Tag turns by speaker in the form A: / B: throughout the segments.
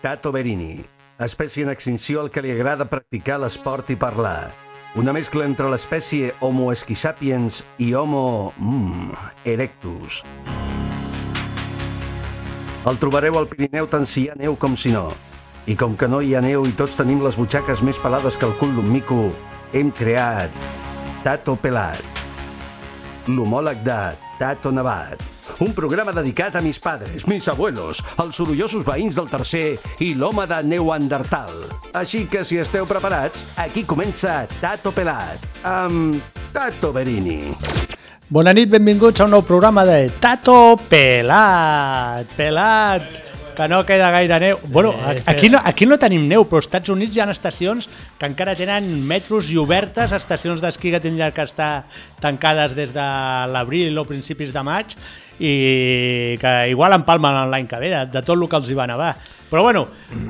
A: Tato Berini, espècie en extinció al que li agrada practicar l'esport i parlar. Una mescla entre l'espècie Homo esquisapiens i Homo... Mm, erectus. El trobareu al Pirineu tant si hi ha neu com si no. I com que no hi ha neu i tots tenim les butxaques més pelades que el cul d'un mico, hem creat Tato Pelat. L'homòleg de Tato Nevat. Un programa dedicat a mis padres, mis abuelos, els sorollosos veïns del tercer i l'home de Neuandertal. Així que, si esteu preparats, aquí comença Tato Pelat, amb Tato Berini.
B: Bona nit, benvinguts a un nou programa de Tato Pelat. Pelat, que no queda gaire neu. Bueno, a-
C: espera.
B: aquí no, aquí no tenim neu, però als Estats Units hi ha estacions que encara tenen metros i obertes, estacions d'esquí que tindran que estar tancades des de l'abril o principis de maig i que igual empalmen l'any que ve de, de tot el que els hi va nevar. Però bueno,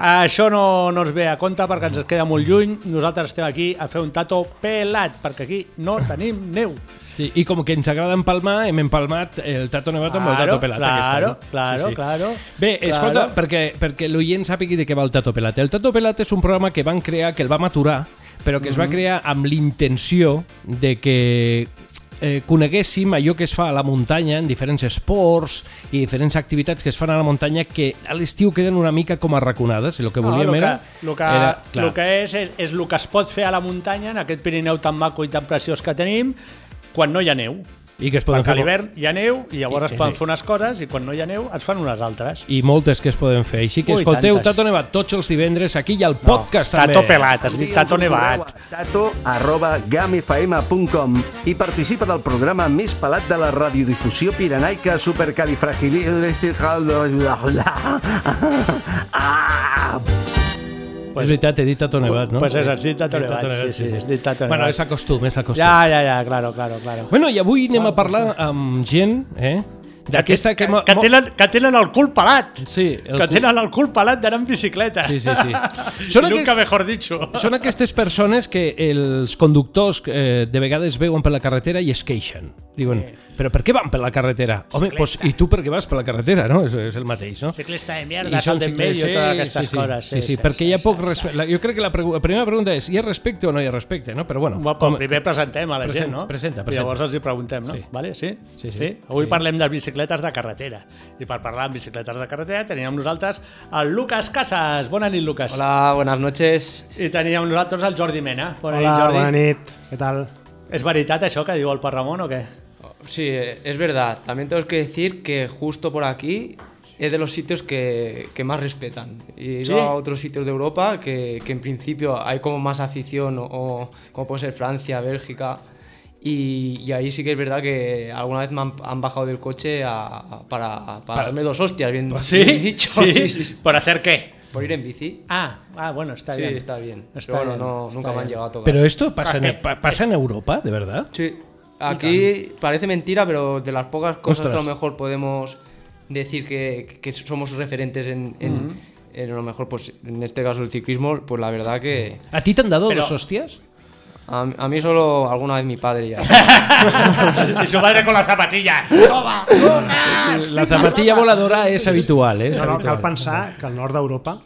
B: això no, no ens ve a compte perquè ens queda molt lluny. Nosaltres estem aquí a fer un tato pelat, perquè aquí no tenim neu.
C: Sí, I com que ens agrada empalmar, hem empalmat el Tato Nevat amb el
B: Claro,
C: Tato Pelat. aquest
B: claro,
C: any.
B: claro, claro,
C: Bé,
B: claro.
C: escolta, perquè, perquè l'oient sàpigui de què va el Tato Pelat. El Tato Pelat és un programa que van crear, que el vam aturar, però que es
B: Mhm.
C: va crear amb l'intenció de que eh, coneguéssim allò que es fa a la muntanya en diferents esports i diferents activitats que es fan a la muntanya que a l'estiu queden una mica com arraconades i el que volíem
B: lo que,
C: era...
B: Lo que,
C: era- clar.
B: lo que és, és, és el que es pot fer a la muntanya, en aquest Pirineu tan maco i tan preciós que tenim, quan no hi ha neu.
C: I que es poden
B: Perquè a
C: fer...
B: l'hivern hi ha neu i llavors
C: I-
B: es poden
C: sí.
B: fer unes coses i quan no hi ha neu es fan unes altres.
C: i moltes que es poden fer. Així que
B: Ui,
C: escolteu
B: tantes.
C: Tato Nevat tots els divendres aquí i al podcast
B: no,
C: també.
B: Tato pelat, has dit tato nevat.
A: Tato arroba gamfm.com i participa del programa més pelat de la radiodifusió piranaica supercalifragilística...
C: és veritat, he dit Tato Nevat, no?
B: Pues és, has dit Tato
C: He dit
B: Nevat, sí, sí, has dit Tato
C: Bueno,
B: Nevat.
C: és acostum, és acostum.
B: Ja, ja, ja, claro, claro, claro.
C: Bueno, i avui anem a parlar amb gent, eh? D'aquesta que... mo-
B: que,
C: mo-
B: tenen, que tenen el cul pelat.
C: Sí, el
B: el que
C: cul-
B: tenen el cul pelat d'anar en bicicleta.
C: Sí, sí, sí. Són
B: Nunca
C: aquests-
B: mejor dicho.
C: Són aquestes persones que els conductors eh, de vegades veuen per la carretera i es queixen. Diuen, però per què van per la carretera? Home, pues, i tu per què vas per la carretera, no? És, és el mateix, no?
B: Ciclista de
C: I
B: mierda,
C: són
B: sal de en medio,
C: ciclistes,
B: totes
C: sí,
B: aquestes
C: sí, sí,
B: coses.
C: Sí, sí, perquè hi ha poc respecte. Jo crec que la, pregu- la primera pregunta és, hi ha respecte o no hi ha respecte, no? Però bueno,
B: Bueno, com... primer presentem a la
C: Presenta,
B: gent, no?
C: presenta,
B: I llavors
C: presenta.
B: els hi preguntem, no?
C: Sí.
B: Sí. Vale? Sí?
C: Sí, sí.
B: Avui
C: Sí.
B: parlem de bicicletes de carretera. I per parlar de bicicletes de carretera teníem nosaltres el Lucas Casas. Bona nit, Lucas.
D: Hola, buenas noches.
B: I teníem nosaltres el Jordi Mena. Bona
E: Hola,
B: nit, Jordi.
E: bona nit. ¿Qué tal?
B: És veritat això que diu el Parramon o què?
D: Sí, eh, es verdad. También tengo que decir que justo por aquí es de los sitios que, que más respetan. Y he ido
B: Sí.
D: a otros sitios de Europa que, que en principio hay como más afición, o, o como puede ser Francia, Bélgica. Y, y ahí sí que es verdad que alguna vez me han, han bajado del coche a- a- para, para darme dos hostias, bien, bien dicho.
B: Ah, Sí?
D: Sí, sí, sí.
B: Per hacer què?
D: Por ir en bici.
B: Ah, ah bueno, està
D: sí,
B: bé.
D: está bien.
B: Está
D: Pero bueno,
B: bien,
D: no, nunca
B: está
D: me han
B: bien.
D: llegado a tocar.
C: Pero esto pasa en, E- pa- pasa en Europa, de verdad?
D: Sí, aquí parece mentira, pero de las pocas cosas que a
C: Ostras.
D: lo mejor podemos decir que, que somos referentes en, en, en a lo mejor, pues en este caso el ciclismo, pues la verdad que
C: ¿A ti te han dado
B: Pero-
C: dos hostias?
D: a, a mí solo alguna vez mi padre ya.
B: I su madre con la zapatilla. Toma!
C: La zapatilla voladora és habitual, eh? És
E: No, no, cal
C: habitual.
E: pensar que al nord d'Europa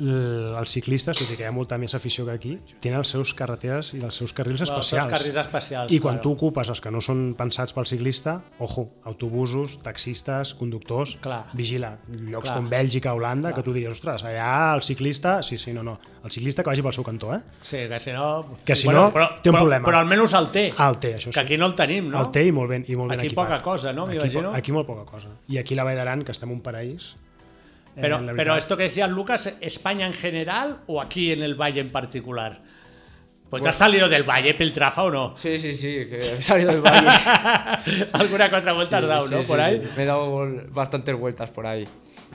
E: l- els ciclistes, tot i que hi ha molta més afició que aquí, tenen els seus carreteres i els seus carrils
B: Bueno, els seus
E: especials.
B: carrils especials,
E: I quan
B: claro.
E: tu ocupes els que no són pensats pel ciclista, ojo, autobusos, taxistes, conductors,
B: Clar.
E: vigila, llocs
B: Clar.
E: com Bèlgica, Holanda, que tu diries, ostres, allà el ciclista... Sí, sí, no, no, el ciclista que vagi pel seu cantó, eh?
B: Sí, que si no...
E: Que si no,
B: però,
E: té un
B: però,
E: problema.
B: Però almenys el té.
E: Ah, el té, això sí.
B: Que aquí no el tenim, no?
E: El té eh, i molt ben, i molt ben
B: Aquí
E: equipat.
B: poca cosa, no?
E: Aquí,
B: M'imagino.
E: po- aquí molt poca cosa. I aquí la Vall d'Aran, que estem un paraís... eh,
B: Pero,
E: la
B: pero
E: veritat-
B: esto que decía Lucas, ¿España en general o aquí en el Valle en particular? Pues, te has salido del Valle, Peltrafa, ¿o no?
D: Sí, sí, sí, que he salido del baño.
B: Alguna contravuelta has dado,
D: Sí,
B: ¿no?
D: sí,
B: Por
D: sí,
B: ahí.
D: sí. Me he dado vol- bastantes vueltas por ahí.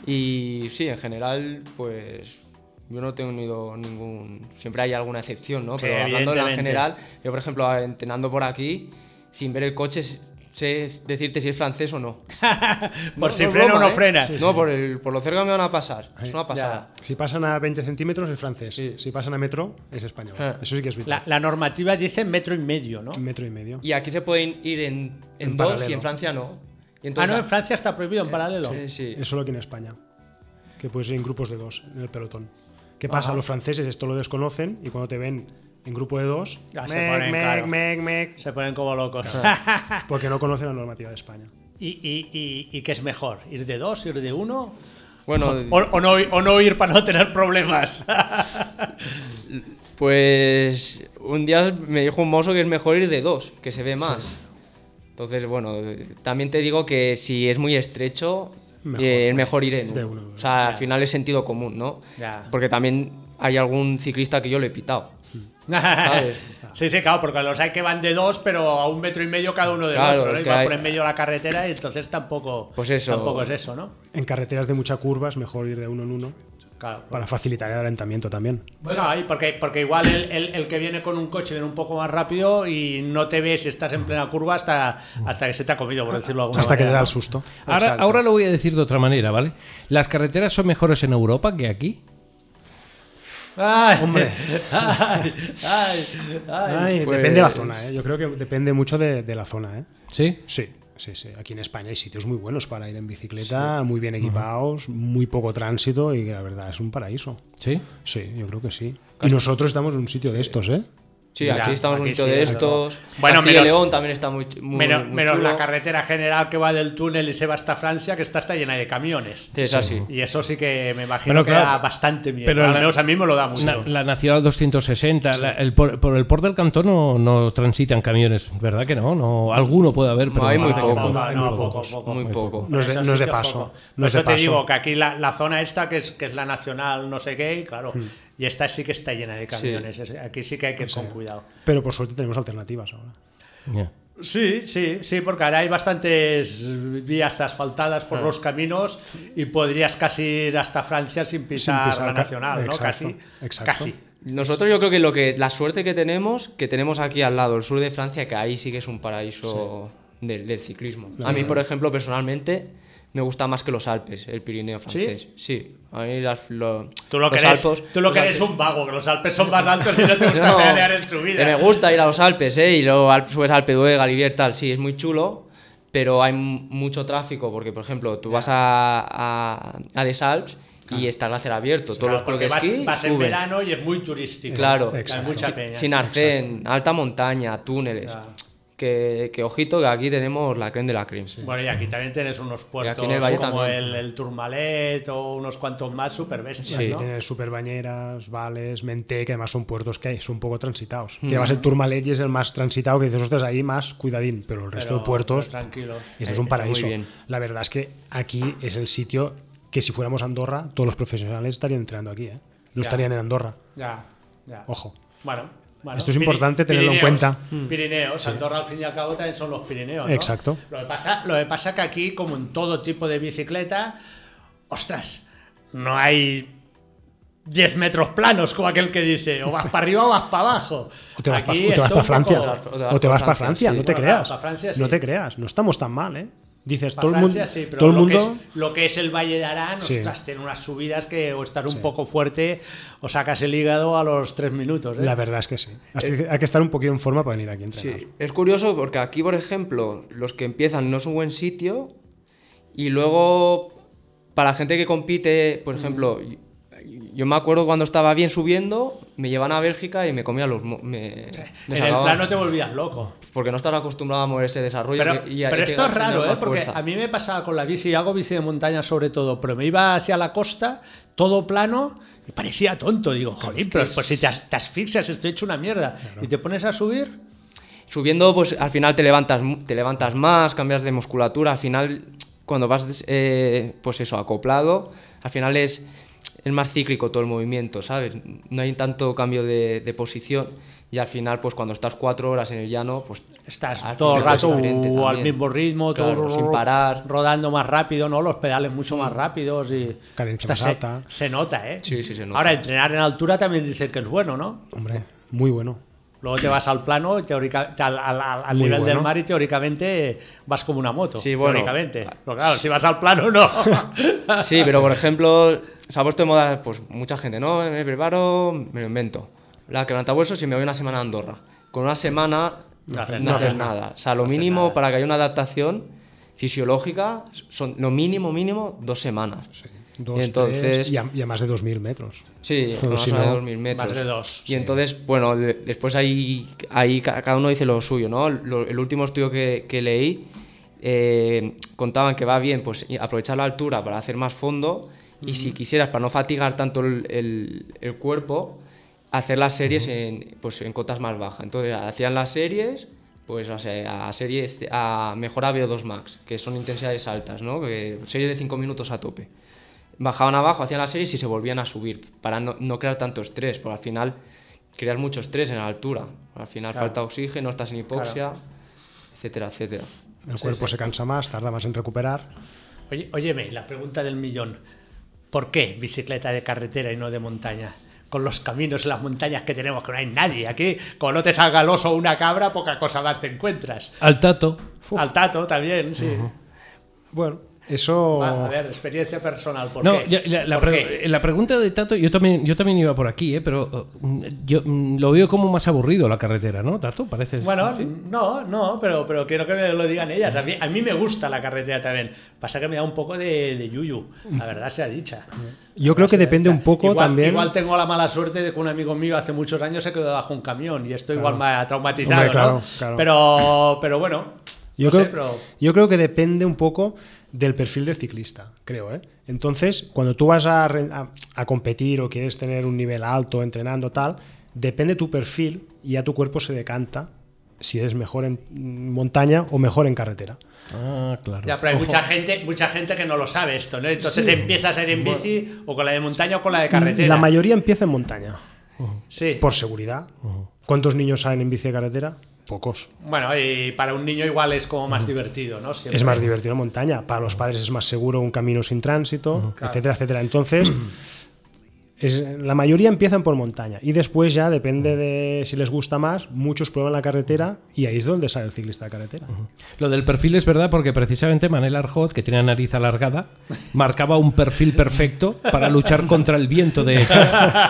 D: Y sí, en general, pues yo no he tenido ningún. Siempre hay alguna excepción, ¿no?
B: Sí,
D: Pero hablando de la
B: evidentemente.
D: general, yo por ejemplo, entrenando por aquí, sin ver el coche, sé decirte si es francés o no.
B: Por
D: No,
B: si
D: no es
B: frena
D: broma,
B: o no
D: ¿eh?
B: frena.
D: No, por, el- por lo cerca me van a pasar. Es una pasada.
E: Eh, Si pasan a 20 centímetros es francés.
D: Sí.
E: Si pasan a metro es español.
D: Eh.
E: Eso sí que es vital.
B: La, la normativa dice metro y medio, ¿no?
E: Metro y medio.
D: Y aquí se pueden ir en, en
E: En
D: dos
E: paralelo.
D: y en Francia no. Y
B: ah,
D: entonces-
B: no, en Francia está prohibido en paralelo.
D: Sí, sí.
E: Es solo aquí en España. que puedes ir en grupos de dos en el pelotón. ¿Qué pasa? Los franceses esto lo desconocen y cuando te ven en grupo de dos,
B: Ya se
E: mec,
B: ponen,
E: mec,
B: claro.
E: mec, mec,
B: Se ponen como locos.
D: Ah.
E: porque no conocen la normativa de España.
B: ¿Y, y, y, y qué es mejor? ¿Ir de dos, ir de uno?
D: Bueno,
B: O, o no, o no ir para no tener problemas.
D: Pues un día me dijo un mozo que es mejor ir de dos, que se ve más. Entonces, bueno, también te digo que si es muy estrecho,
E: Mejor,
D: eh, es mejor ir en
E: de
D: uno.
E: uno.
D: O sea, al final es sentido común, ¿no?
B: Ya.
D: Porque también hay algún ciclista que yo le he pitado.
B: Sí, sí, claro, porque los hay que van de dos, pero a un metro y medio cada uno del
D: Claro,
B: otro, ¿no?
D: es
B: Y
D: que
B: van
D: hay-
B: por en medio de la carretera y entonces tampoco,
D: Pues eso.
B: tampoco es eso, ¿no?
E: En carreteras de mucha curva es mejor ir de uno en uno
B: Claro.
E: para facilitar el alentamiento también.
B: Bueno, ahí, porque, porque igual el, el- el que viene con un coche viene un poco más rápido y no te ve si estás en plena curva hasta, hasta que se te ha comido, por decirlo de alguna
E: Hasta que te
B: manera,
E: da
B: ¿no?
E: el susto.
C: Ahora,
B: Exacto.
C: ahora lo voy a decir de otra manera, ¿vale? ¿Las carreteras son mejores en Europa que aquí?
B: Ay, ay, ay, ay.
E: Ay,
D: pues-
E: Depende de la zona, ¿eh? yo creo que depende mucho de, de la zona. ¿eh?
C: ¿Sí?
E: Sí, sí, sí. Aquí en España hay sitios muy buenos para ir en bicicleta, muy bien equipados, muy poco tránsito y la verdad es un paraíso.
C: ¿Sí?
E: Sí, yo creo que sí. Y nosotros estamos en un sitio de estos, ¿eh?
D: Sí,
B: Ya,
D: aquí estamos
B: aquí
D: un poquito
B: sí,
D: de
B: claro.
D: estos.
B: Bueno,
D: Castilla y
B: menos-
D: León también está muy, muy,
B: Menos,
D: muy
B: menos
D: chulo.
B: la carretera general que va del túnel y se va hasta Francia, que está, está llena de camiones.
D: Sí, es así.
B: Y eso sí que me imagino
C: Pero
B: que
C: claro,
B: da bastante miedo.
C: pero
B: Al
C: la-
B: menos a mí me lo da mucho.
C: Na- la Nacional 260, la- el por, por el port del Cantón no, no transitan camiones, ¿verdad que no? no alguno puede haber, pero
D: No, hay
C: me
D: muy
C: parece que
D: poco.
C: no.
B: No, no, poco,
C: pocos.
B: poco.
D: Muy poco.
E: No es de-
B: Eso
E: no es
B: sí
E: de
B: que
E: paso,
B: poco.
E: no es
B: Por
E: de
B: eso te
E: paso.
B: digo que aquí la, la zona esta, que es, que es la nacional no sé qué, y claro, y esta Mm. sí que está llena de camiones. Es- Aquí sí que hay que ir con cuidado.
E: Pero por suerte tenemos alternativas ahora.
C: Ya.
B: Sí, sí, sí, porque ahora hay bastantes vías asfaltadas por los caminos y podrías casi ir hasta Francia sin pisar,
E: pisar
B: la
E: ca-
B: nacional, ¿no?
E: exacto,
B: Casi.
E: exacto.
B: Casi.
D: Nosotros yo creo que lo que la suerte que tenemos, que tenemos aquí al lado, el sur de Francia, que ahí sí que es un paraíso del, del ciclismo. a mí, por ejemplo, personalmente, me gusta más que los Alpes, el Pirineo francés. Sí, a mí las, lo-
B: Tú lo
D: los
B: que eres,
D: Alpos...
B: tú lo
D: los
B: que eres
D: Alpes-
B: un vago, que los Alpes son más altos y no te gusta
D: No,
B: pedalear en subida.
D: que me gusta ir a los Alpes, ¿eh? Y luego al- subes al Pedue, Galivier, tal. Sí, es muy chulo, pero hay m- mucho tráfico porque, por ejemplo, tú vas a, a, a Desalps y está el hacer abierto. Todos
B: Claro,
D: los clubes
B: porque
D: de
B: vas,
D: esquí
B: vas en
D: suben.
B: verano y es muy turístico.
D: Claro,
B: hay
E: Exacto.
B: mucha peña.
D: sin arcén, alta montaña, túneles.
B: Claro.
D: Que, que ojito, que aquí tenemos la creme de la creme.
B: Bueno, y aquí también tienes unos puertos
D: en el valle
B: como
D: también.
B: el, el Turmalet o unos cuantos más super bestias,
D: Sí.
E: Y
B: ¿no?
E: tienes superbañeras, Vales, Menté, que además son puertos que son un poco transitados. Te vas el Turmalet y es el más transitado que dices, ostras, ahí más cuidadín, pero el resto
B: Pero-
E: de puertos...
B: pero tranquilos.
E: Y esto es
D: Eh, Está
E: un
D: muy
E: paraíso.
D: bien.
E: La verdad es que aquí es el sitio que si fuéramos a Andorra, todos los profesionales estarían entrenando aquí, ¿eh? No
B: Ya.
E: estarían en Andorra.
B: Ya, ya.
E: Ojo.
B: Bueno, bueno.
E: Esto es
B: Piri-
E: importante tenerlo en
B: Pirineos, Mm.
E: cuenta.
B: Pirineos, Andorra al fin y al cabo también son los Pirineos. ¿no?
E: Exacto.
B: Lo que pasa, lo que pasa que aquí, como en todo tipo de bicicleta, ostras, no hay 10 metros planos como aquel que dice, o vas para arriba o vas para abajo.
E: O te vas, pa-
B: Aquí
E: o te
B: esto
E: vas para
B: un
E: Francia.
B: poco-
D: O te vas
E: O te
D: pa
E: vas
D: Francia,
E: para Francia,
D: sí.
E: no te
B: Bueno,
E: creas.
B: pa Francia sí.
E: No te creas, no estamos tan mal, ¿eh? Dices,
B: Pa'
E: todo el mundo.
B: Francia, sí, pero
E: todo el
B: lo,
E: mundo.
B: que es, lo que es el Valle de Arán,
E: Sí.
B: ostras, tiene unas subidas que o estar un poco fuerte o sacas el hígado a los tres minutos. ¿eh?
E: La verdad es que sí. Así que hay que estar un poquito en forma para venir aquí a entrenar.
D: Sí. Es curioso porque aquí, por ejemplo, los que empiezan no es un buen sitio y luego para la gente que compite, por ejemplo,
B: Mm.
D: y- yo me acuerdo cuando estaba bien subiendo, me llevan a Bélgica y me comía los... mo- Me, me
B: en el
D: sacaban.
B: plano te volvías loco.
D: Porque no estaba acostumbrado a mover ese desarrollo.
B: Pero,
D: y- y- y
B: pero esto
D: pegar
B: es raro,
D: más
B: ¿eh? porque
D: fuerza.
B: a mí me pasaba con la bici, yo hago bici de montaña sobre todo, pero me iba hacia la costa, todo plano, y parecía tonto. Digo, jolín, pero pues si te, as- te asfixias, estoy hecho una mierda. Y te pones a subir,
D: subiendo, pues al final te levantas, mu- te levantas más, cambias de musculatura, al final cuando vas, eh, pues eso, acoplado, al final es, es más cíclico todo el movimiento, ¿sabes? No hay tanto cambio de, de posición y al final, pues cuando estás cuatro horas en el llano, pues
B: estás
D: al-
B: todo
D: te
B: el rato
D: cuesta diferente
B: uh, al
D: también.
B: mismo ritmo,
D: Claro,
B: todo
D: sin parar. Mm.
B: rodando más rápido, ¿no? Los pedales mucho más rápidos y
E: Cadencia más
B: se,
E: alta.
B: se nota, ¿eh?
D: Sí, sí, se nota.
B: Ahora, entrenar en altura también dicen que es bueno, ¿no?
E: Hombre, muy bueno.
B: Luego te vas al plano, teórica, al, al- al- al
E: Muy
B: nivel
E: bueno.
B: del mar y teóricamente vas como una moto.
D: Sí, bueno. Ah.
B: Teóricamente. Pero claro, si vas al plano, no.
D: Sí, pero por ejemplo, se ha puesto de moda, pues mucha gente, ¿no? Me preparo, me lo invento. La quebrantahuesos y me voy una semana a Andorra. Con una semana
B: No
D: no
B: haces
D: haces,
B: nada.
D: nada. O sea, lo mínimo para que haya una adaptación fisiológica, son lo mínimo, mínimo, dos semanas.
E: Dos,
D: y
E: entonces,
D: entonces,
E: y, a, y a más de 2.000 metros.
D: Sí,
E: Pero
D: más
E: si
D: o menos
E: no-
D: 2000 metros.
B: Más de dos,
D: Y entonces, bueno, de- después ahí, ahí ca- cada uno dice lo suyo, ¿no? Lo- el último estudio que, que leí eh, contaban que va bien pues y aprovechar la altura para hacer más fondo y
E: Mm.
D: si quisieras, para no fatigar tanto el, el- el cuerpo, hacer las series en, pues, en cotas más bajas. Entonces hacían las series, pues o sea, a series a mejor VO2 max, que son intensidades altas, ¿no? Que- serie de 5 minutos a tope bajaban abajo, hacían las series y se volvían a subir para no, no crear tanto estrés, porque al final creas mucho estrés en la altura. Al final falta oxígeno, estás en hipoxia, etcétera, etcétera.
E: El cuerpo se cansa más, tarda más en recuperar.
B: Oye, óyeme, la pregunta del millón. ¿Por qué bicicleta de carretera y no de montaña? Con los caminos y las montañas que tenemos, que no hay nadie aquí. Como no te salga el oso o una cabra, poca cosa más te encuentras.
C: Al tato.
B: Al tato también, sí.
E: Bueno, eso...
B: Va, a ver, experiencia personal. ¿por
C: Oh. No,
B: qué?
C: ya- la, la
B: ¿Por
C: pre-
B: qué?
C: la pregunta eh, de Tato, yo también, yo también iba por aquí, ¿eh? pero eh, mm, yo mm, lo veo como más aburrido la carretera, ¿no, Tato? Parece.
B: Bueno, no, no, pero, pero quiero que me lo digan ellas. A mí, a mí me gusta la carretera también. Pasa que me da un poco de, de yuyu, la verdad sea dicha.
E: Yo creo que
B: sea
E: depende
B: dicha.
E: un poco
B: Igual-
E: también...
B: Igual tengo la mala suerte de que un amigo mío hace muchos años se quedó bajo un camión y esto igual me ha traumatizado.
E: Hombre,
B: ¿no?
E: claro, claro.
B: Pero, pero bueno,
E: Yo,
B: no
E: creo,
B: sé, pero-
E: yo creo que depende un poco del perfil del ciclista, creo. ¿eh? Entonces, cuando tú vas a, re- a- a competir o quieres tener un nivel alto entrenando tal, depende tu perfil y ya tu cuerpo se decanta si eres mejor en mm, montaña o mejor en carretera.
C: Ah, claro.
B: Ya, pero hay mucha gente, mucha gente que no lo sabe esto, ¿no? Entonces empiezas a ir en bici o con la de montaña o con la de carretera.
E: La mayoría empieza en montaña,
B: Sí.
E: por seguridad. ¿Cuántos niños salen en bici de carretera? Pocos.
B: Bueno, y para un niño igual es como más divertido, ¿no? Siempre.
E: Es más divertido en montaña. Para los padres es más seguro un camino sin tránsito, etcétera, etcétera. Entonces, es- la mayoría empiezan por montaña y después ya depende de si les gusta más, muchos prueban la carretera y ahí es donde sale el ciclista de carretera.
C: Lo del perfil es verdad porque precisamente Manel Arjot, que tiene nariz alargada, marcaba un perfil perfecto para luchar contra el viento de...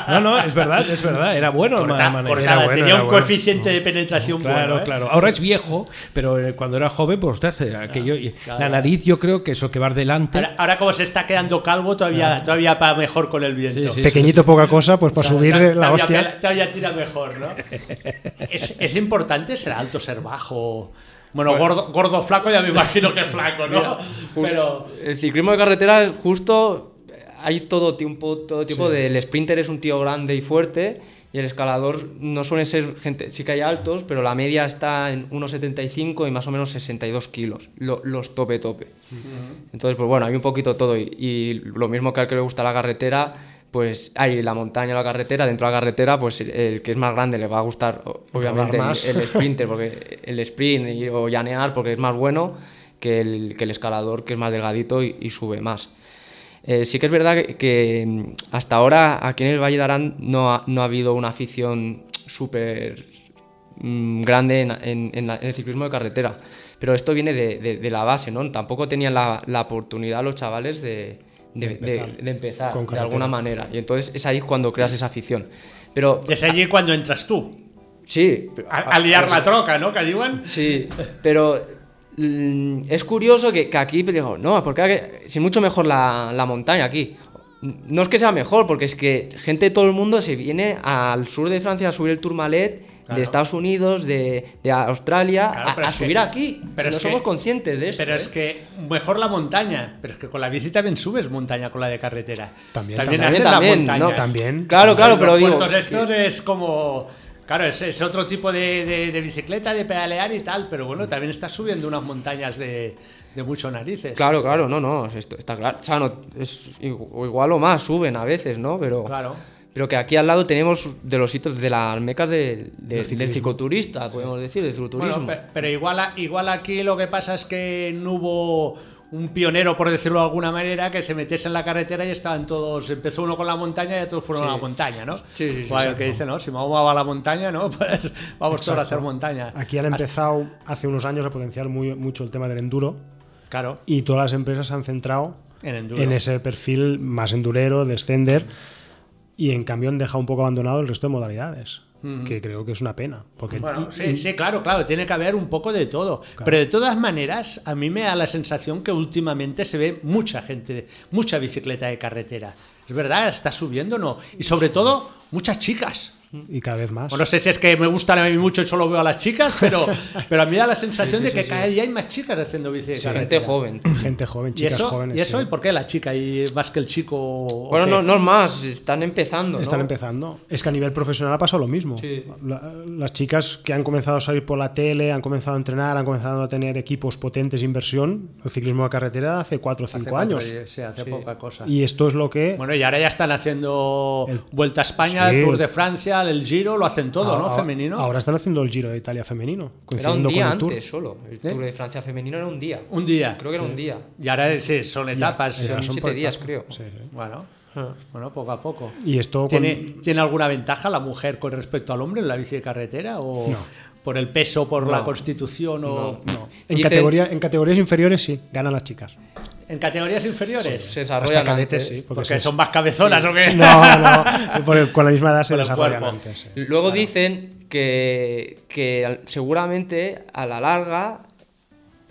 C: No, no, es verdad, es verdad, era bueno el
B: Corta-
C: Manel.
B: cortada,
E: Era bueno,
B: tenía
E: era
B: un
E: bueno.
B: coeficiente de penetración
C: Claro,
B: bueno, ¿eh?
C: claro. Ahora es viejo, pero eh, cuando era joven, pues ostras, eh, aquello, y- la nariz yo creo que eso que va delante...
B: Ahora, ahora como se está quedando calvo, todavía, todavía va mejor con el viento.
C: Sí, sí,
E: Pequeñito, poca cosa, pues para subir
B: Ta-
E: la
B: todavía
E: hostia.
B: pela- todavía tira mejor, ¿no? ¿Es, es importante ser alto, ser bajo? Bueno, gordo, gordo, flaco, ya me imagino que flaco, ¿no?
D: Justo-
B: Pero...
D: El ciclismo de carretera es justo. eh, Hay todo tipo, todo tipo de. El sprinter es un tío grande y fuerte. Y el escalador no suelen ser gente. Sí que hay altos, pero la media está en 1,75 y más o menos 62 kilos. lo- los tope, tope. Entonces, pues bueno, hay un poquito todo. Y, y lo mismo que al que le gusta la carretera, pues hay la montaña, la carretera. Dentro de la carretera, pues el, el que es más grande le va a gustar, o- obviamente, el,
E: más.
D: el sprinter, porque el sprint y- o llanear, porque es más bueno que el, que el escalador, que es más delgadito y, y sube más. Eh, sí que es verdad que, que, mm, hasta ahora aquí en el Valle de Arán no ha, no ha habido una afición súper mm, grande en, en- en la- en el ciclismo de carretera. Pero esto viene de, de- de la base, ¿no? Tampoco tenían la, la oportunidad los chavales de, de- de- de empezar, de,
E: con carretera.
D: alguna manera. Y entonces es ahí cuando creas esa afición. Pero
B: Es allí cuando entras tú,
D: sí, pero-
B: a, a liar la troca, ¿no? Que diuen.
D: Sí, pero mm, es curioso que, que aquí pues, digo, no, porque aquí- si mucho mejor la, la montaña aquí. No es que sea mejor, porque es que gente de todo el mundo se viene al sur de Francia a subir el Tourmalet, de Estados Unidos, de, de Australia,
B: Claro,
D: a-
B: pero
D: a,
B: es que-
D: subir aquí.
B: pero
D: no
B: es que-
D: somos conscientes de eso. ¿eh?
B: Pero es que mejor la montaña, pero es que con la bici también subes montaña con la de carretera.
E: También,
B: haces
D: también,
B: las
D: también,
B: montañas.
D: ¿no?
E: También.
D: Claro, claro, pero
B: los
D: digo.
B: puertos estos es como. Claro, es, es otro tipo de, de- de bicicleta, de pedalear y tal, pero bueno, también estás subiendo unas montañas de, de mucho narices.
D: Claro, claro, no, no, esto está claro. O sea, no, es igu- o igual o más, suben a veces, ¿no? Pero,
B: Claro.
D: pero que aquí al lado tenemos de los sitios, de las mecas de- de- del cicloturista, podemos decir, del
B: Bueno,
D: cicloturismo.
B: pe- pero, igual, a- igual aquí lo que pasa es que no hubo un pionero, por decirlo de alguna manera, que se metiese en la carretera y estaban todos. Empezó uno con la montaña y todos fueron a la montaña, ¿no?
D: Sí, sí, sí,
B: Igual que dice, ¿no? Si Mahoma va a la montaña, ¿no? Pues vamos todos a hacer montaña.
E: Aquí han empezado hace unos años a potenciar muy- mucho el tema del enduro
B: Claro,
E: y todas las empresas se han centrado
B: en enduro.
E: en ese perfil más endurero, de extender, y en cambio han dejado un poco abandonado el resto de modalidades. que creo que es una pena. Porque
B: Bueno, sí, sí, claro, claro, tiene que haber un poco de todo. Pero de todas maneras, a mí me da la sensación que últimamente se ve mucha gente, mucha bicicleta de carretera. Es verdad, está subiendo, o ¿no? Y sobre todo, muchas chicas.
E: y cada vez más.
B: O no sé si es que me gustan a mí mucho y solo veo a las chicas, pero, pero a mí me da la sensación de que cada día hay más chicas haciendo bicicleta. de
D: Gente
B: carretera.
D: joven.
E: Gente joven,
B: ¿Y
E: chicas
B: eso?
E: jóvenes.
B: ¿Y eso?
E: sí.
B: ¿Y por qué la chica y más que el chico? ¿O
D: Bueno,
B: qué?
D: no, no es más, están empezando. ¿no?
E: Están empezando. Es que a nivel profesional ha pasado lo mismo.
D: Sí.
E: La- las chicas que han comenzado a salir por la tele, han comenzado a entrenar, han comenzado a tener equipos potentes de inversión, el ciclismo de carretera hace 4 o
B: Hace
E: 5
B: cuatro
E: años.
B: días, sí, hace poca cosa.
E: Y esto es lo que
B: Bueno, y ahora ya están haciendo
E: El-
B: Vuelta a España,
E: Sí.
B: Tour de Francia, el Giro, lo hacen todo,
E: ahora-
B: ¿no? Femenino.
E: Ahora están haciendo el Giro de Italia femenino.
D: Era un
E: coincidiendo
D: día
E: con el Tour.
D: antes solo. El Tour de Francia femenino era un día.
B: Un día.
D: Creo que era un día.
B: Y ahora sí, son etapas.
D: Eran
B: son-
D: siete días, creo.
E: Sí, sí.
B: Bueno, bueno, poco a poco.
E: Y esto con-
B: ¿Tiene, ¿Tiene alguna ventaja la mujer con respecto al hombre en la bici de carretera? ¿O
E: No.
B: por el peso, por la
D: No.
B: constitución? O...
D: No.
E: en,
D: Dicen-
E: categoría- en categorías inferiores sí, ganan las chicas.
B: ¿En categorías inferiores?
D: Se
E: Hasta
D: desarrollan
E: cadetes
D: antes.
E: sí. Porque,
B: Porque
E: se-
B: son más cabezonas o qué.
E: No, no, por- con la misma edad se
B: Por el
E: desarrollan
B: cuerpo.
E: antes. sí.
D: Luego dicen que, que al- seguramente a la larga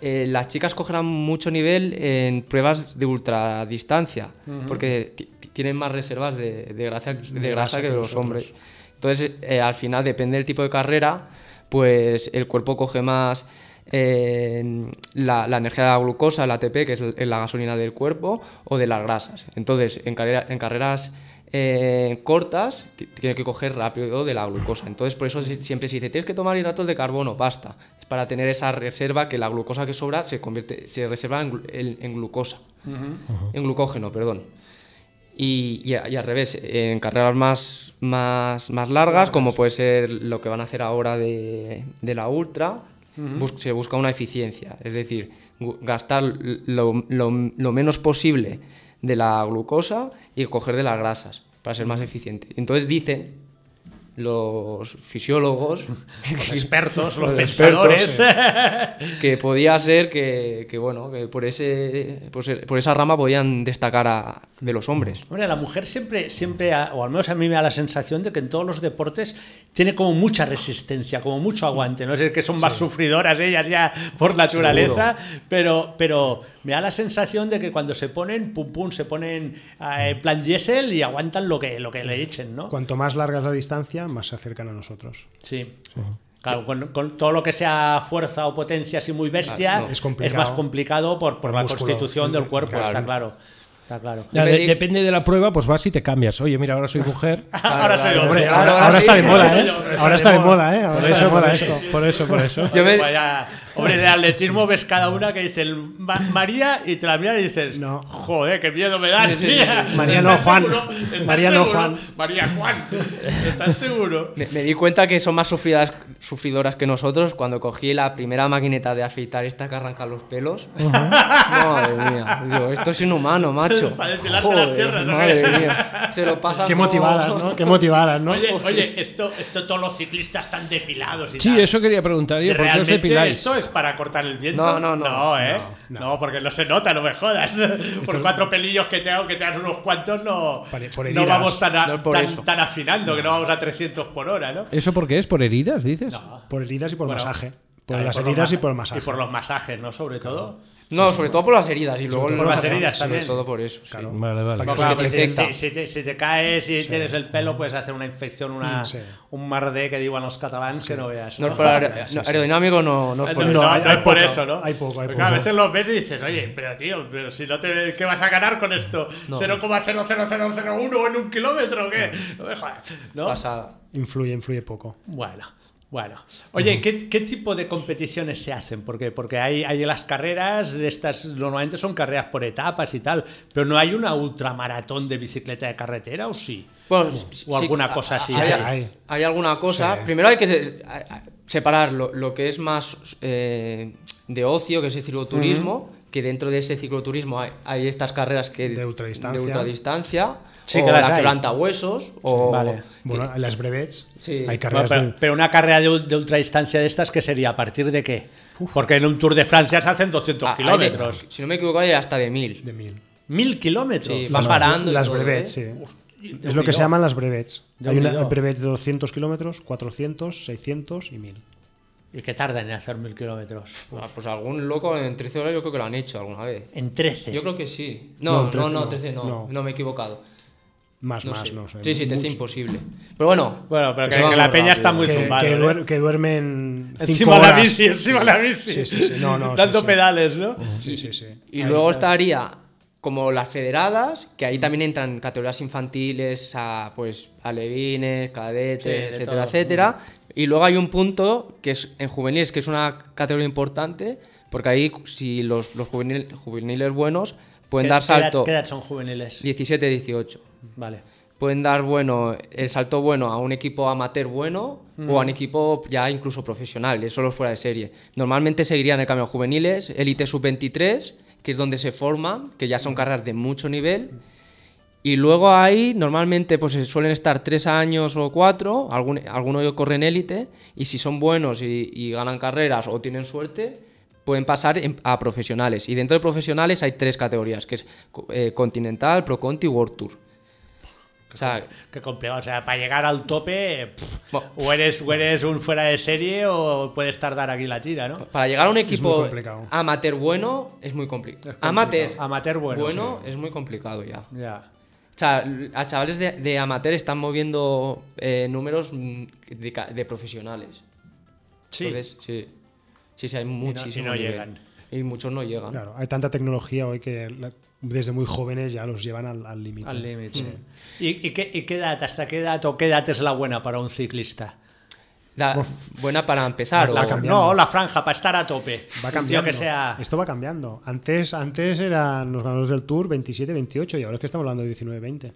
D: eh, las chicas cogerán mucho nivel en pruebas de ultradistancia, porque ti- ti- tienen más reservas de, de grasa, de grasa que, los hombres. Entonces, eh, al final, depende del tipo de carrera, pues el cuerpo coge más eh, la, la energía de la glucosa, el ATP, que es l- la gasolina del cuerpo, o de las grasas. Entonces, en, carrera- en carreras eh, cortas, ti- tiene que coger rápido de la glucosa. Entonces, por eso si- siempre se dice, tienes que tomar hidratos de carbono, basta. Es para tener esa reserva que la glucosa que sobra se, convierte, se reserva en, glu- en- en glucosa. En glucógeno, perdón. Y, y a- y al revés, en carreras más, más, más largas, como puede ser lo que van a hacer ahora de, de la ultra, bus- se busca una eficiencia. Es decir, gu- gastar lo, lo- lo menos posible de la glucosa y coger de las grasas para ser más eficiente. Entonces dicen los fisiólogos
B: Los expertos, los,
D: Los expertos,
B: pensadores.
D: que podía ser que, que, bueno, que por, ese, por, ser- por esa rama podían destacar a- de los hombres.
B: Hombre, la mujer siempre, siempre, ha- o al menos a mí me da la sensación de que en todos los deportes tiene como mucha resistencia, como mucho aguante. No sé que son más sufridoras ellas ya por naturaleza, pero, pero me da la sensación de que cuando se ponen, pum pum, se ponen eh, en plan diésel y aguantan lo que, lo que le echen, ¿no?
E: Cuanto más larga es la distancia, más se acercan a nosotros.
B: Sí. Claro, con, con todo lo que sea fuerza o potencia así muy bestia,
D: Ah, no.
E: Es complicado.
B: más complicado por, por
E: El
B: la
E: músculo.
B: constitución del cuerpo,
E: Claro.
B: está claro. Está claro.
C: Ya,
D: Yo
C: de-
D: me di-
C: depende de la prueba, pues vas y te cambias. Oye, mira, ahora soy mujer.
B: Ahora soy hombre.
E: ahora- ahora está de moda, ¿eh?
B: Ahora
E: Ahora está de moda, ¿eh? Ahora
C: Por
E: está de
C: eso, por
E: moda
C: eso,
E: esto.
C: por eso, por eso.
D: Yo me-
B: Vaya, hombre, de atletismo ves cada una que dice el Ma- María y te la miras y dices,
E: No.
B: joder, qué miedo me das, tía.
E: María
B: ¿Estás
E: no, Juan.
B: seguro? ¿Estás
E: María no,
B: seguro?
E: Juan.
B: María Juan. ¿Estás seguro?
D: Me, me di cuenta que son más sufridas, sufridoras que nosotros cuando cogí la primera maquineta de afeitar esta que arranca los pelos. Madre mía, digo, esto es inhumano, macho.
B: Para depilarte las piernas, ¿no?
D: madre mía, se lo pasan
E: Qué
D: como-
E: motivadas, ¿no? Qué motivadas, ¿no?
B: Oye, oye, esto, esto todos los ciclistas están depilados y
C: Sí,
B: tal.
C: eso quería preguntar yo, ¿por qué os
B: ¿Realmente
C: depiláis?
B: esto es para cortar el viento?
D: No, no, no.
B: No, ¿eh? No, porque no se nota, no me jodas. Por cuatro pelillos que te hago, que te hagas unos cuantos, no,
E: Por- por
B: no
E: heridas.
B: vamos tan, a-
D: No, por
B: tan-
D: eso.
B: tan afinando, que no vamos a 300 por hora, ¿no?
C: ¿Eso por qué es? ¿Por heridas, dices?
E: Por heridas y por
B: Bueno,
E: masaje. Por
B: Claro,
E: las
B: los
E: heridas y
B: masa-
E: por el masaje.
B: Y por los masajes, ¿no? Sobre todo.
D: No, sobre todo por las heridas y luego
B: todo por
D: los
B: las heridas
D: sobre
B: también.
D: todo por eso. sí.
C: Vale, vale.
E: Para que
B: Claro,
D: se
B: pues,
D: te
B: si,
D: infecta.
B: si te, si te caes y tienes el pelo, puedes hacer una infección, una,
E: Mm, Sí.
B: un mardé que digan los catalans que no veas.
D: No
B: ¿no?
D: es por aer- no, aerodinámico, no, no es por
B: No,
D: eso.
B: no,
E: hay-
B: no
E: hay
B: es por
E: poco,
B: eso, ¿no?
E: hay poco, hay
B: Porque a
E: poco.
B: veces los ves y dices, oye, pero tío, pero si no te, ¿qué vas a ganar con esto?
D: No.
B: 0,00001 en un kilómetro o qué? No me jodas, ¿no?
D: Pasada.
E: Influye, influye poco.
B: Bueno, bueno. Oye, ¿qué, qué tipo de competiciones se hacen? Porque, porque hay, hay las carreras, de estas normalmente son carreras por etapas y tal, pero no hay una ultramaratón de bicicleta de carretera, ¿o sí?
D: Bueno, sí-
B: o alguna
D: sí,
B: cosa
D: a-
B: así.
D: Hay,
E: Hay.
D: hay alguna cosa.
E: Sí.
D: Primero hay que se- a- a- separar lo, lo que es más eh, de ocio, que es el cicloturismo, que dentro de ese cicloturismo hay, hay estas carreras que
E: De ultradistancia.
D: de ultradistancia,
B: Sí
D: o
B: que las
D: la
B: hay.
D: quebranta huesos, o
B: Vale.
E: Bueno, en las brevets
D: Sí.
E: hay
B: Bueno,
E: carreras
B: pero,
E: de-
B: pero una carrera de, de ultradistancia de estas, ¿qué sería? ¿A partir de qué? Porque en un Tour de Francia se hacen 200
D: a- hay de-
B: kilómetros.
D: si no me equivoco, hay hasta de mil.
E: Ah, de mil.
B: ¿Mil kilómetros?
D: Sí,
E: Las-
D: vas parando. y
E: Las
D: todo,
E: brevets,
D: ¿eh?
E: sí.
B: Hostia,
E: Es lo que se llaman las brevets.
B: Déu
E: Hay una
B: n'hi do.
E: brevets de 200 kilómetros, 400, 600 y 1000.
B: ¿Y que tardan en hacer mil kilómetros?
D: Ah, pues algún loco en 13 horas yo creo que lo han hecho alguna vez.
B: En 13.
D: Yo creo que sí. No,
E: No,
D: no,
E: 13
D: no,
E: no.
D: 13 no.
E: No.
D: No, me he equivocado.
E: Más,
D: No
E: más,
D: sé.
E: no sé.
D: Sí, sí, 13
E: mucho.
D: imposible. Pero bueno.
B: Bueno, pero que,
D: se va
B: que la
D: muy
B: peña
D: rápido.
B: está muy
E: que,
B: zumbada.
E: que
B: ¿eh?
E: duer- que duermen cinco
B: Encima la
E: horas.
B: bici, encima la bici.
E: Sí, sí, sí, no, no, sí,
B: Dando
E: sí.
B: pedales, ¿no?
E: Sí, sí, sí.
D: Y luego estaría como las federadas, que ahí también entran categorías infantiles, a, pues alevines, cadetes,
B: Sí, de
D: etcétera,
B: todo.
D: etcétera. Y luego hay un punto que es en juveniles, que es una categoría importante, porque ahí si los, los juvenil- juveniles buenos pueden
B: ¿Qué-
D: dar
B: qué edad-
D: salto
B: ¿Qué edad son juveniles?
D: 17-18.
B: Vale.
D: Pueden dar bueno el salto bueno a un equipo amateur bueno o a un equipo ya incluso profesional, eso los fuera de serie. Normalmente seguirían el camino juveniles, élite sub-23, que es donde se forman, que ya son carreras de mucho nivel. Y luego ahí normalmente pues suelen estar tres años o cuatro, algún, alguno ellos corren élite, y si son buenos y, y ganan carreras o tienen suerte, pueden pasar en- a profesionales. Y dentro de profesionales hay tres categorías, que es co- eh, Continental, Pro Conti y World Tour. O sea,
B: Qué complejo. O sea, para llegar al tope, pff,
D: Bueno.
B: o, eres, o eres un fuera de serie o puedes tardar aquí la tira, ¿no?
D: para llegar a un
E: muy
D: equipo
E: complicado.
D: amateur bueno es muy complicado. Amateur,
B: Amateur bueno,
D: es muy complicado ya.
B: Ya.
D: O sea, a chavales de, de amateur están moviendo eh, números mm, de, ca- de profesionales.
B: Sí.
D: Entonces, sí. Sí, sí, hay muchísimos.
B: no
D: nivel.
B: llegan.
D: Y muchos no llegan.
E: Claro, hay tanta tecnología hoy que la- desde muy jóvenes ya los llevan al- al límite.
B: Al límite.
D: mm.
B: ¿Y, y qué, ¿Y qué edad? ¿Hasta qué edad o qué edad es la buena para un ciclista?
D: La- buena para empezar.
B: La-
D: o-
B: no, la franja, para estar a tope.
E: Va
B: Un tío
E: cambiando.
B: que sea.
E: Esto va cambiando. Antes, antes eran los ganadores del Tour 27, 28 y ahora es que estamos hablando de 19, 20.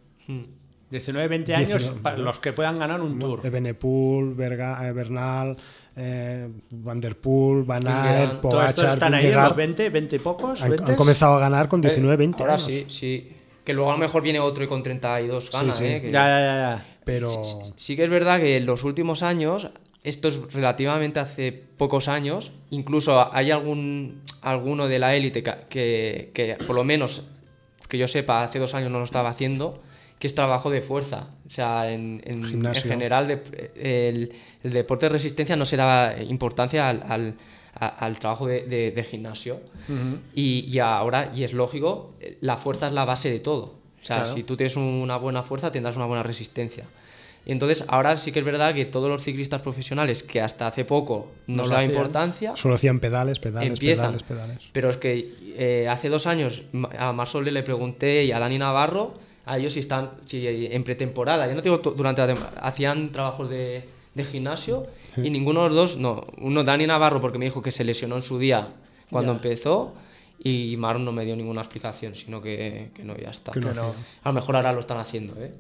B: 19, 20 años,
E: 19,
B: para los que puedan ganar un tour.
E: De Eh, Benepool, Berga- eh, Bernal, eh, Van der Poel, Van
D: Vingegaard.
E: Aert,
B: Todos estos
E: Pogacar,
B: están ahí,
E: Vingegaard.
B: los 20, 20 y pocos.
E: han,
B: 20.
E: han comenzado a ganar con
D: Eh,
E: 19, 20
D: Ahora
E: años.
D: sí, sí. Que luego a lo mejor viene otro y con 32 gana,
E: sí.
D: ¿eh? Que-
B: Ya, ya, ya.
E: Pero
D: Sí que es verdad que en los últimos años, esto es relativamente hace pocos años, incluso hay algún alguno de la élite ca- que, que, por lo menos que yo sepa hace dos años no lo estaba haciendo, que es trabajo de fuerza. O sea, en, en-
E: Gimnasio.
D: en general de- el, el deporte de resistencia no se daba importancia al, al- a- al trabajo de, de- de gimnasio. y, y ahora, y es lógico, eh, la fuerza es la base de todo. O sea,
B: Claro.
D: si tú tienes una buena fuerza, tendrás una buena resistencia. Y entonces, ahora sí que es verdad que todos los ciclistas profesionales que hasta hace poco
B: No
D: no
B: lo
D: se daba
B: hacían.
D: importancia,
E: solo hacían pedales, pedales,
D: empiezan.
E: pedales, pedales.
D: Pero es que eh, hace dos años ma- a Marsole le pregunté y a Dani Navarro, a ellos si están si eh, en pretemporada, ya no te digo to- durante la temporada, hacían trabajos de, de gimnasio y ninguno de los dos, no, uno Dani Navarro porque me dijo que se lesionó en su día cuando
B: Ya.
D: empezó y Mar no me dio ninguna explicación, sino que, que no, ya está.
E: Que no hacían.
D: A lo mejor ahora lo están haciendo, ¿eh?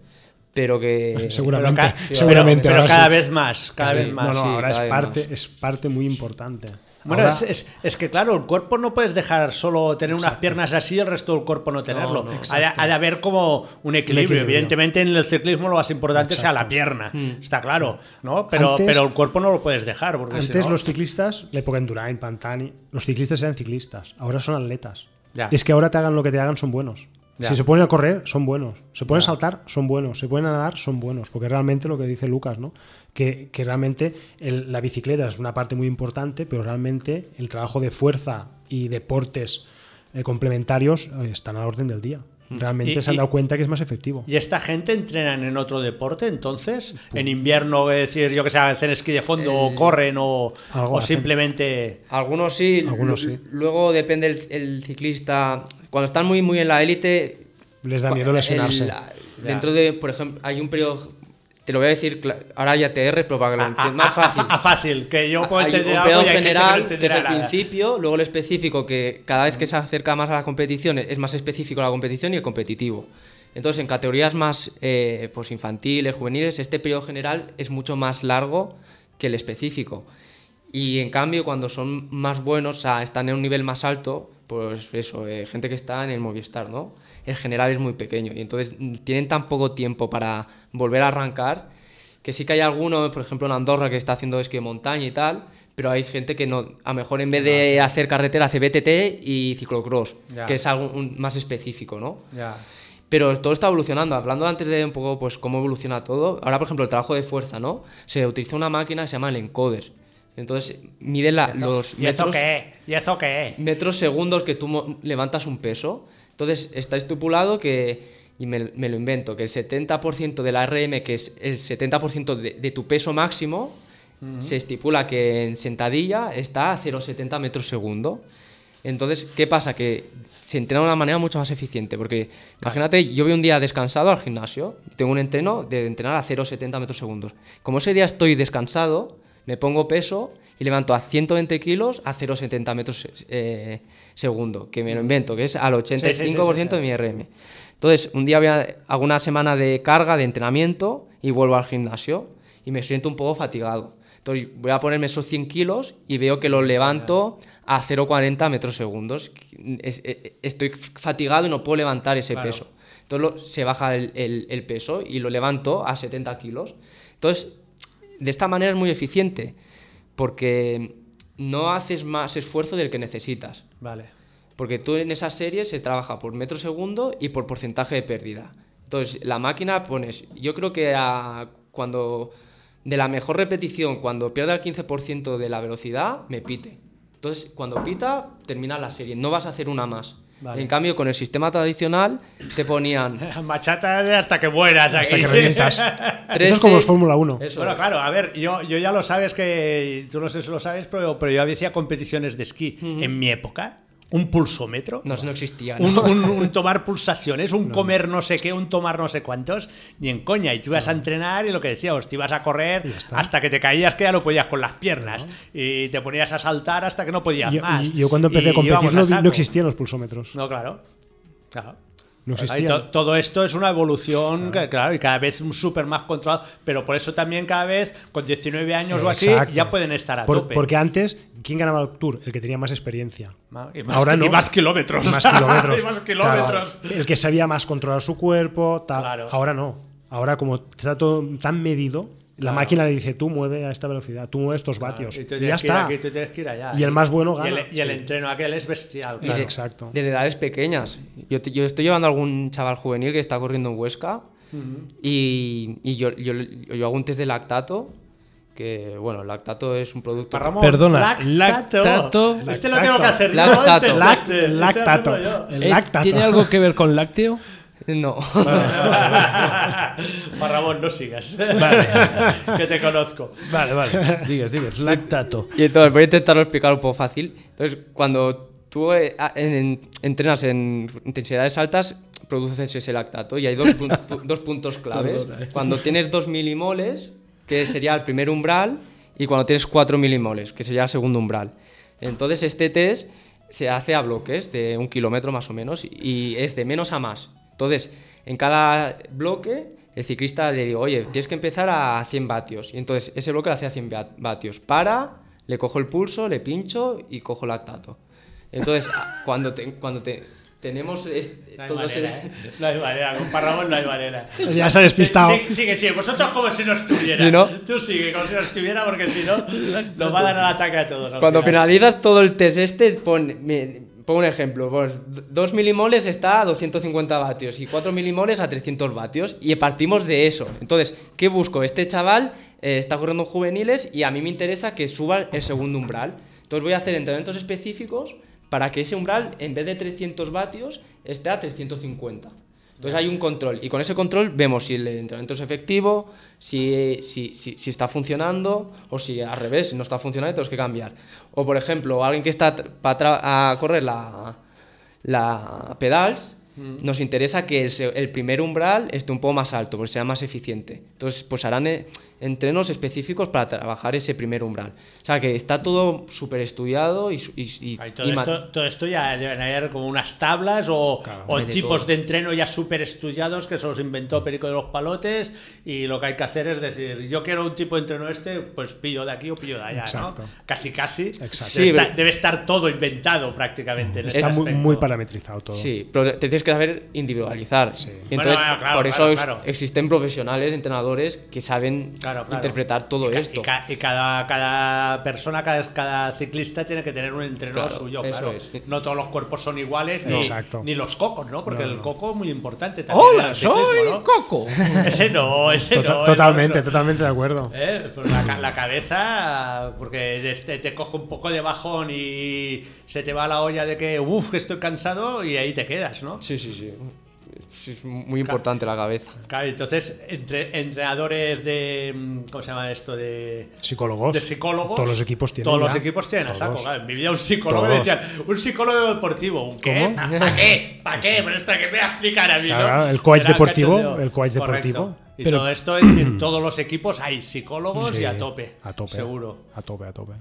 D: Pero que...
E: Seguramente,
B: ca-
D: sí,
E: seguramente.
B: Pero, pero
E: ahora
B: cada
E: sí.
B: vez más, cada
D: Sí.
B: vez más.
E: No, no,
D: sí,
E: ahora es
D: cada vez
E: parte,
D: más.
E: es parte muy importante.
B: Bueno,
E: Ahora-
B: es, es- es que claro, el cuerpo no puedes dejar solo tener unas piernas así y el resto del cuerpo no tenerlo.
D: no,
B: ha, de, ha de haber como un equilibrio.
E: equilibrio. Mm.
B: Evidentemente en el ciclismo lo más importante sea la pierna, está claro, ¿no? Pero,
E: Antes-
B: pero el cuerpo no lo puedes dejar. Porque si
E: Antes
B: no-
E: los ciclistas, la época Endurain, Pantani, los ciclistas eran ciclistas, ahora son atletas.
B: Ya.
E: Es que ahora te hagan lo que te hagan, son buenos.
B: Ya.
E: Si se ponen a correr, son buenos. Se ponen a saltar, son buenos. Se ponen a nadar, son buenos. Porque realmente lo que dice Lucas, ¿no? Que, que realmente el- la bicicleta es una parte muy importante, pero realmente el trabajo de fuerza y deportes eh, complementarios eh, están a la orden del día. Realmente
B: Mm. Y-
E: se han
B: y-
E: dado cuenta que es más efectivo.
B: ¿Y esta gente entrenan en otro deporte entonces? ¿En invierno, es decir, yo que sé, hacen esquí de fondo o corren o,
E: Eh, Algo
B: o
E: hacen.
B: simplemente...
D: Algunos sí.
E: Algunos
D: lu-
E: sí.
D: Luego depende el, el ciclista. Cuando están muy, muy en la élite.
E: Les da miedo
D: el-
E: lesionarse.
D: la- dentro de, por ejemplo, hay un periodo. Te lo voy a decir, cla- ahora hay ATR, pero para que lo
B: A,
D: entiendas más
B: a- a-
D: fácil.
B: a fácil, que yo puedo
D: Hay un
B: entender algo
D: periodo
B: y hay gente que no
D: general, que es
B: entenderá
D: el
B: nada.
D: principio, luego el específico, que cada vez que se acerca más a la competición es más específico la competición y el competitivo. Entonces, en categorías más eh, pues infantiles, juveniles, este periodo general es mucho más largo que el específico. Y en cambio, cuando son más buenos, o sea, están en un nivel más alto, pues eso, eh, gente que está en el Movistar, ¿no? El general es muy pequeño y entonces mm, tienen tan poco tiempo para volver a arrancar que sí que hay alguno, por ejemplo en Andorra, que está haciendo esquí de montaña y tal, pero hay gente que no, a lo mejor en vez de hacer carretera hace BTT y ciclocross,
B: Ya.
D: que es algo un- más específico, ¿no?
B: Ya.
D: Pero todo está evolucionando. Hablando antes de un poco pues cómo evoluciona todo, ahora por ejemplo el trabajo de fuerza, ¿no? Se utiliza una máquina que se llama el encoder. Entonces mide la- los
B: ¿Y eso
D: metros,
B: qué? ¿Y eso qué?
D: metros segundos que tú mo- levantas un peso. Entonces está estipulado que, y me, me lo invento, que el 70% de la RM, que es el 70% de, de tu peso máximo, se estipula que en sentadilla está a 0,70 metros segundo. Entonces, ¿qué pasa? Que se entrena de una manera mucho más eficiente. Porque imagínate, yo voy un día descansado al gimnasio, tengo un entreno de entrenar a 0,70 metros segundos. Como ese día estoy descansado, me pongo peso y levanto a 120 kilos a 0,70 metros eh, segundo, que me lo invento, que es al 85% de mi RM. Entonces, un día voy a, hago una semana de carga, de entrenamiento y vuelvo al gimnasio y me siento un poco fatigado. Entonces voy a ponerme esos 100 kilos y veo que los levanto a 0,40 metros segundos. Es- es- Estoy fatigado y no puedo levantar ese peso. Entonces lo- se baja el, el- el peso y lo levanto a 70 kilos. Entonces, de esta manera es muy eficiente porque no haces más esfuerzo del que necesitas.
B: Vale.
D: Porque tú en esa serie se trabaja por metro segundo y por porcentaje de pérdida. Entonces, la máquina pones, yo creo que a- cuando de la mejor repetición, cuando pierda el 15% de la velocidad, me pite. Entonces, cuando pita, termina la serie, no vas a hacer una más.
B: Vale.
D: En cambio, con el sistema tradicional te ponían
B: Machata de hasta que mueras aquí.
E: Hasta que revientas.
D: tres
E: Esto es como el
D: se-
E: Fórmula 1.
D: Eso
B: Bueno,
D: es.
B: claro, a ver, yo, yo ya lo sabes que tú no sé si lo sabes, pero, pero yo hacía competiciones de esquí en mi época, un pulsómetro.
D: No, eso no existía. ¿no?
B: Un, un- un tomar pulsaciones, un comer no sé qué, un tomar no sé cuántos, ni en coña. Y tú ibas a entrenar y lo que decíamos, te ibas a correr
E: está.
B: hasta que te caías que ya no podías con las piernas. Y te ponías a saltar hasta que no podías
E: Y- y-
B: más.
E: y yo cuando empecé
B: Y
E: a competir
B: íbamos
E: no, vi-
B: saco.
E: no existían los pulsómetros.
B: No, claro. Claro.
E: No
B: Ahí
E: existían.
B: to- todo esto es una evolución, que, claro, y cada vez un súper más controlado. Pero por eso también cada vez, con 19 años o así,
E: Exacto.
B: ya pueden estar a
E: Por-
B: tope.
E: Porque antes, ¿quién ganaba el Tour? El que tenía más experiencia.
B: Ma- y más,
E: Ahora
B: Ahora
E: no.
B: y más kilómetros.
E: Y más kilómetros.
B: Y más kilómetros.
E: Claro, el que sabía más controlar su cuerpo, tal.
B: Claro.
E: Ahora no. Ahora, como está todo tan medido, la
B: Claro.
E: máquina le dice: tú mueve a esta velocidad, tú mueve estos vatios.
B: Y
E: Ah, Y,
B: tú
E: ya
B: tienes que ir
E: está.
B: aquí, tú tienes que ir allá.
E: Y el más bueno
B: Y el,
E: gana.
B: y el entreno aquel es bestial.
D: Y
B: claro.
D: de-
E: exacto.
D: Desde edades pequeñas. Yo, te- yo estoy llevando a algún chaval juvenil que está corriendo en Huesca y, y yo, yo- yo hago un test de lactato, que bueno, el lactato es un producto...
B: Para Ramón,
C: Perdona, lactato.
B: Este lo tengo que hacer. yo,
D: Lactato.
B: este es
E: Lac-
B: este, este lo
E: lactato.
B: tengo yo. Este
E: El
C: ¿Es-
E: lactato.
C: ¿Tiene algo que ver con lácteo?
D: No.
B: Para Ramón, no sigas. que te conozco.
C: Vale, vale. Digues, digues, lactato.
D: Y entonces voy a intentarlo explicar un poco fácil. Entonces, cuando tú eh, a- en- en- entrenas en intensidades altas, produces ese lactato y hay dos, pun- pu- dos puntos claves.
C: Perdona, eh.
D: Cuando tienes 2 milimoles, que sería el primer umbral, y cuando tienes 4 milimoles, que sería el segundo umbral. Entonces, este test se hace a bloques de un kilómetro más o menos y es de menos a más. Entonces, en cada bloque el ciclista le digo, oye, tienes que empezar a 100 vatios. Y entonces ese bloque lo hace a 100 va- vatios. Para, le cojo el pulso, le pincho y cojo lactato. Entonces, a- cuando, te- cuando te- tenemos es-
B: No hay,
D: todo ese-
B: manera, ¿eh? no hay manera, con Parramón no hay manera.
E: Pues Ya se ha despistado.
B: Sí, sí, sigue, sigue. Vosotros como si no estuviera.
D: Si no-
B: Tú sigue, como si no estuviera, porque si no, nos va a dar el ataque a todos. al
D: Cuando
B: final.
D: finalizas todo el test este, pon, me- pon un ejemplo. 2 milimoles está a 250 vatios y 4 milimoles a 300 vatios y partimos de eso. Entonces, ¿qué busco? Este chaval eh, está corriendo en juveniles y a mí me interesa que suba el segundo umbral. Entonces voy a hacer entrenamientos específicos para que ese umbral, en vez de 300 vatios, esté a 350. Entonces hay un control y con ese control vemos si el entrenamiento es efectivo, si, si, si- si está funcionando o si al revés, si no está funcionando, tenemos que cambiar. O por ejemplo, alguien que está para a correr la, la pedals,
B: Mm.
D: nos interesa que el, se- el primer umbral esté un poco más alto, porque sea más eficiente. Entonces, pues harán eh, entrenos específicos para trabajar ese primer umbral. O sea, que está todo súper estudiado y... su- y- y-
B: Ay, todo,
D: y ma-
B: esto, todo esto ya deben haber como unas tablas o, o
D: Hay de
B: tipos
D: todo.
B: de entreno ya súper estudiados que se los inventó Perico de los Palotes y lo que hay que hacer es decir, yo quiero un tipo de entreno este, pues pillo de aquí o pillo de allá,
E: Exacto.
B: ¿no? Casi, casi.
E: Exacto.
B: Debe,
D: Sí,
B: estar,
D: pero-
B: debe estar todo inventado prácticamente. en
E: Está
B: este
E: muy,
B: aspecto.
E: muy parametrizado todo.
D: Sí, pero te tienes que saber individualizar. Y
B: Bueno,
D: entonces,
B: bueno, claro,
D: por eso
B: claro,
D: ex-
B: claro.
D: existen profesionales, entrenadores que saben
B: claro, claro.
D: interpretar todo
B: Y ca-
D: esto.
B: Y, ca- y cada, cada persona, cada, cada ciclista tiene que tener un entrenador
D: Claro,
B: suyo,
D: eso
B: claro.
D: es.
B: No todos los cuerpos son iguales, ni,
E: Exacto.
B: ni los cocos, ¿no? Porque
E: No,
B: el
E: no.
B: coco es muy importante también. en
C: ¡Hola,
B: el ciclismo,
C: soy
B: ¿no?
C: Coco!
B: Ese no, ese
E: Tota-
B: no.
E: totalmente,
B: ese no.
E: totalmente de acuerdo.
B: Eh, pues la, ca- la cabeza, porque este, te coge un poco de bajón y se te va la olla de que, uff, que estoy cansado y ahí te quedas, ¿no?
D: Sí, sí, sí. Sí, Es muy importante la cabeza.
B: Claro, entonces, entre, entrenadores de. mm, ¿Cómo se llama esto? De.
E: Psicólogos.
B: De psicólogos.
E: Todos los equipos tienen.
B: Todos los
E: ya.
B: equipos tienen a saco.
E: Todos.
B: claro. En mi vida un psicólogo
E: Todos.
B: me decían, un psicólogo deportivo. ¿Un qué?
E: ¿Cómo?
B: ¿Para qué? ¿Para qué? Pero esto que me va a explicar a mí, ¿no?
E: Claro, el coach
B: Era un
E: deportivo,
B: cachondeo.
E: el coach
B: Correcto.
E: deportivo.
B: Y
C: Pero-
B: todo esto, en, en todos los equipos hay psicólogos
E: Sí,
B: y a tope.
E: A tope.
B: Seguro.
E: A tope, a tope.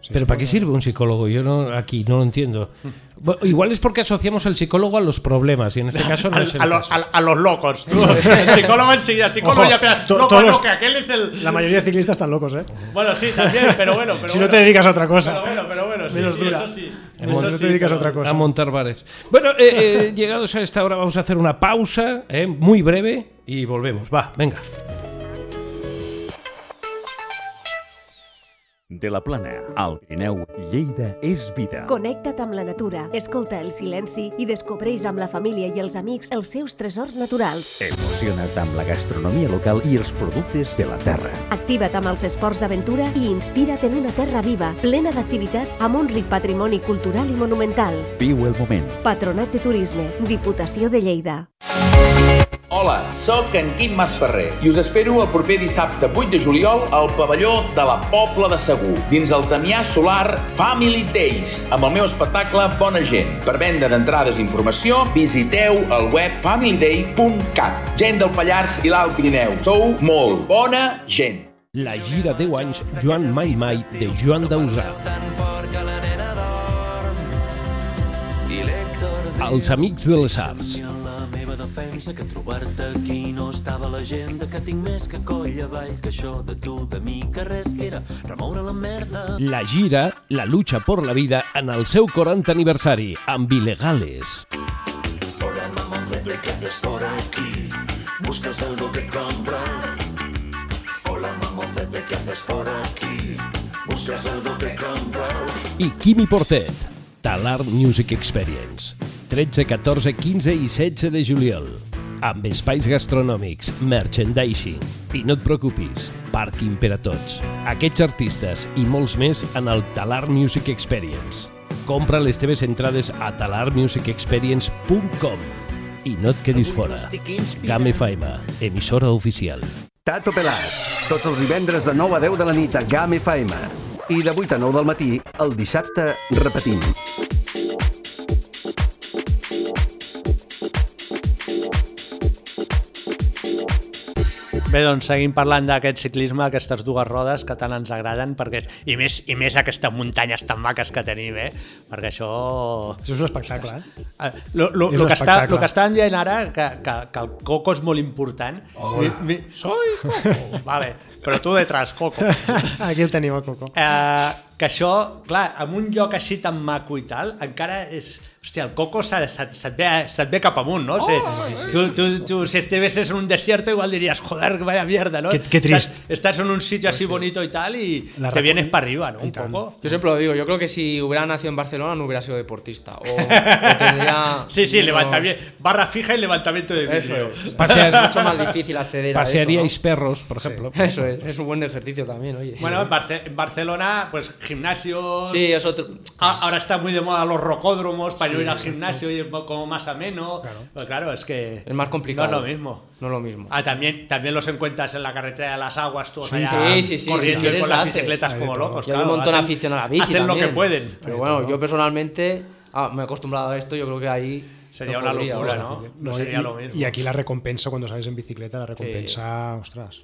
E: Sí.
C: ¿Pero para qué sirve un psicólogo? Yo no, aquí no lo entiendo. Bueno, igual es porque asociamos el psicólogo a los problemas y en este caso no
B: Al-
C: es el
B: a, lo-
C: caso.
B: a- a los locos. tú. El psicólogo enseguida, psicólogo
E: Ojo,
B: ya espera,
E: to-
B: loco,
E: todos los-
B: no, que aquel es el.
E: La mayoría de ciclistas están locos, ¿eh?
B: Bueno, sí, también, pero bueno. Pero
E: si
B: bueno.
E: no te dedicas a otra
B: Pero
E: cosa.
B: bueno, pero bueno, sí,
E: Menos
B: sí,
E: dura.
B: eso sí.
E: Bueno,
B: Eso
E: no te
B: sí,
E: dedicas a
B: pero-
E: otra cosa.
C: A montar bares. Bueno, eh, eh, llegados a esta hora vamos a hacer una pausa eh, muy breve y volvemos. Va, venga.
F: De la Plana, al Pirineu, Lleida és vida.
G: Connecta't amb la natura, escolta el silenci i descobreix amb la família i els amics els seus tresors naturals.
F: Emociona't amb la gastronomia local i els productes de la terra.
G: Activa't amb els esports d'aventura i inspira't en una terra viva, plena d'activitats amb un ric patrimoni cultural i monumental.
F: Viu el moment.
G: Patronat de Turisme, Diputació de Lleida.
H: Hola, sóc en Quim Masferrer i us espero el proper dissabte 8 de juliol al pavelló de la Pobla de Segur, dins el Damià Solar Family Days, amb el meu espectacle Bona Gent. Per venda d'entrades i informació, visiteu el web familyday.cat. Gent del Pallars i l'Alt Pirineu, sou molt bona gent.
C: La gira 10 anys Joan Mai Mai de Joan Dausà. Els amics de les arts.
I: La meva defensa que en trobar-te aquí no estava a l'agenda que tinc més que coll avall que això de tu, de mi, que res que era remoure la merda.
C: La gira La lucha por la vida en el seu 40 aniversari amb Ilegales. i Quimi Portet, Talar Music Experience. 13, 14, 15 i 16 de juliol. Amb espais gastronòmics, merchandising i no et preocupis, pàrquing per a tots. Aquests artistes i molts més en el Talar Music Experience. Compra les teves entrades a talarmusicexperience.com i no et quedis fora. Game Faima, emissora oficial.
A: Tato Pelat, tots els divendres de 9 a 10 de la nit a GAM FM. I de 8 a 9 del matí, el dissabte, repetim.
B: Bé, doncs seguim parlant d'aquest ciclisme, aquestes dues rodes que tant ens agraden, perquè, i, més, i més aquestes muntanyes tan maques que tenim, eh? perquè això...
E: Això és un espectacle, eh?
B: Ah, Lo, lo,
E: És
B: lo,
E: un
B: que està,
E: espectacle.
B: lo que estàvem dient ara, que, que, que el coco és molt important... Mi, mi... Soy coco! Vale, però tu detrás, coco.
E: Aquí el teniu, el Coco.
B: Eh, que això, clar, en un lloc així tan maco i tal, encara és... Hòstia, el coco se, se, se, et ve, se et ve cap amunt, no? Oh, sí, sí, sí. Tu, tu, tu, si estuvieses en un desierto igual diries, joder, vaya mierda, ¿no?
E: Qué- qué trist.
B: Estás, estás en un sitio así bonito y tal y
E: La
B: te
E: Rapu-
B: vienes para arriba, ¿no? Un
E: tant.
B: poco.
D: Yo siempre lo digo, yo creo que si hubiera nacido en Barcelona no hubiera sido deportista. O, o
B: Pues
D: tendría.
B: Sí, sí,
D: menos-
B: levantamiento, barra fija y levantamiento de
D: Eso
B: vidrio.
D: es.
C: Pasear-
D: Es mucho más difícil acceder
C: Passearíais
D: a eso.
C: perros, per exemple.
D: ¿no? Eso es, es un buen ejercicio también, oye.
B: Bueno, en, Barce- en Barcelona, pues gimnasios...
D: sí, es otro.
E: Pues-
B: Ah, ahora está muy de moda los rocódromos para no ir al gimnasio y es como más ameno. Claro, claro es que.
D: Es más complicado.
B: No es lo mismo.
D: No es lo mismo.
B: Ah, también, también los encuentras en la carretera de las aguas, todos
D: Sí,
B: allá
D: sí, sí, sí, si
B: corriendo y
D: quieres
B: con
D: la
B: las
D: haces.
B: bicicletas
E: Hay de
B: como
E: todo.
B: locos.
D: Y
B: Pues
D: hay
B: claro,
D: un montón
B: hacen-
D: aficionado a la bici.
B: Hacen lo
D: también.
B: que pueden.
D: Pero bueno, yo personalmente ah, me he acostumbrado a esto. Yo creo que ahí.
B: Sería
D: no
B: una
D: podría,
B: locura,
D: o sea,
B: ¿no?
E: No,
B: No
E: i-
B: sería lo mismo.
E: Y aquí la recompensa cuando sales en bicicleta, la recompensa, ostras.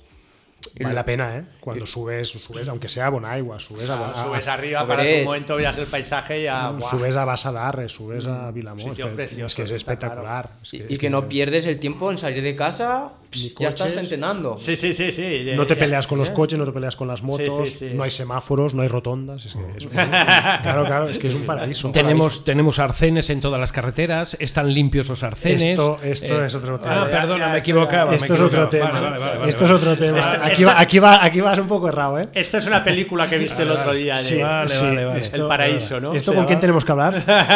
D: Y
E: Vale
D: lo-
E: la pena, ¿eh? Cuando subes, subes, aunque sea a Bonaigua, subes a,
B: Ah,
E: a-
B: subes arriba,
D: Hombre.
B: para un momento, miras el paisaje y ya. guau.
E: Mm, subes a Bassa d'Arre, subes a Vilamor.
B: Mm. sitio
E: es que-
B: precioso,
E: es que es
B: está
E: espectacular. Es
D: Y, y que no pierdes el tiempo en salir de casa,
E: ni
D: Ya
E: coches.
D: estás entrenando.
B: Sí, sí, sí, sí.
E: No te
B: Ya-
E: peleas con los coches, no te peleas con las motos,
B: sí.
E: no hay semáforos, no hay rotondas. Es que es un- claro, claro, es que es un paraíso.
C: Tenemos, tenemos arcenes en todas las carreteras, están limpios los arcenes.
E: Esto- esto es otro tema.
C: eh, Ah, perdona, me equivocaba. me
E: Esto es otro
C: equivocaba.
E: tema.
C: Vale, vale, vale, vale,
E: Esto es
C: vale.
E: otro tema.
B: Esta-
E: aquí, va- aquí va- aquí vas un poco errado, ¿eh?
B: Esto es una película que viste el
E: Ah,
B: otro día. de-
C: vale, vale, vale.
B: El paraíso, ¿no?
E: ¿Esto
B: Se
E: con
B: llama-
E: quién tenemos que hablar?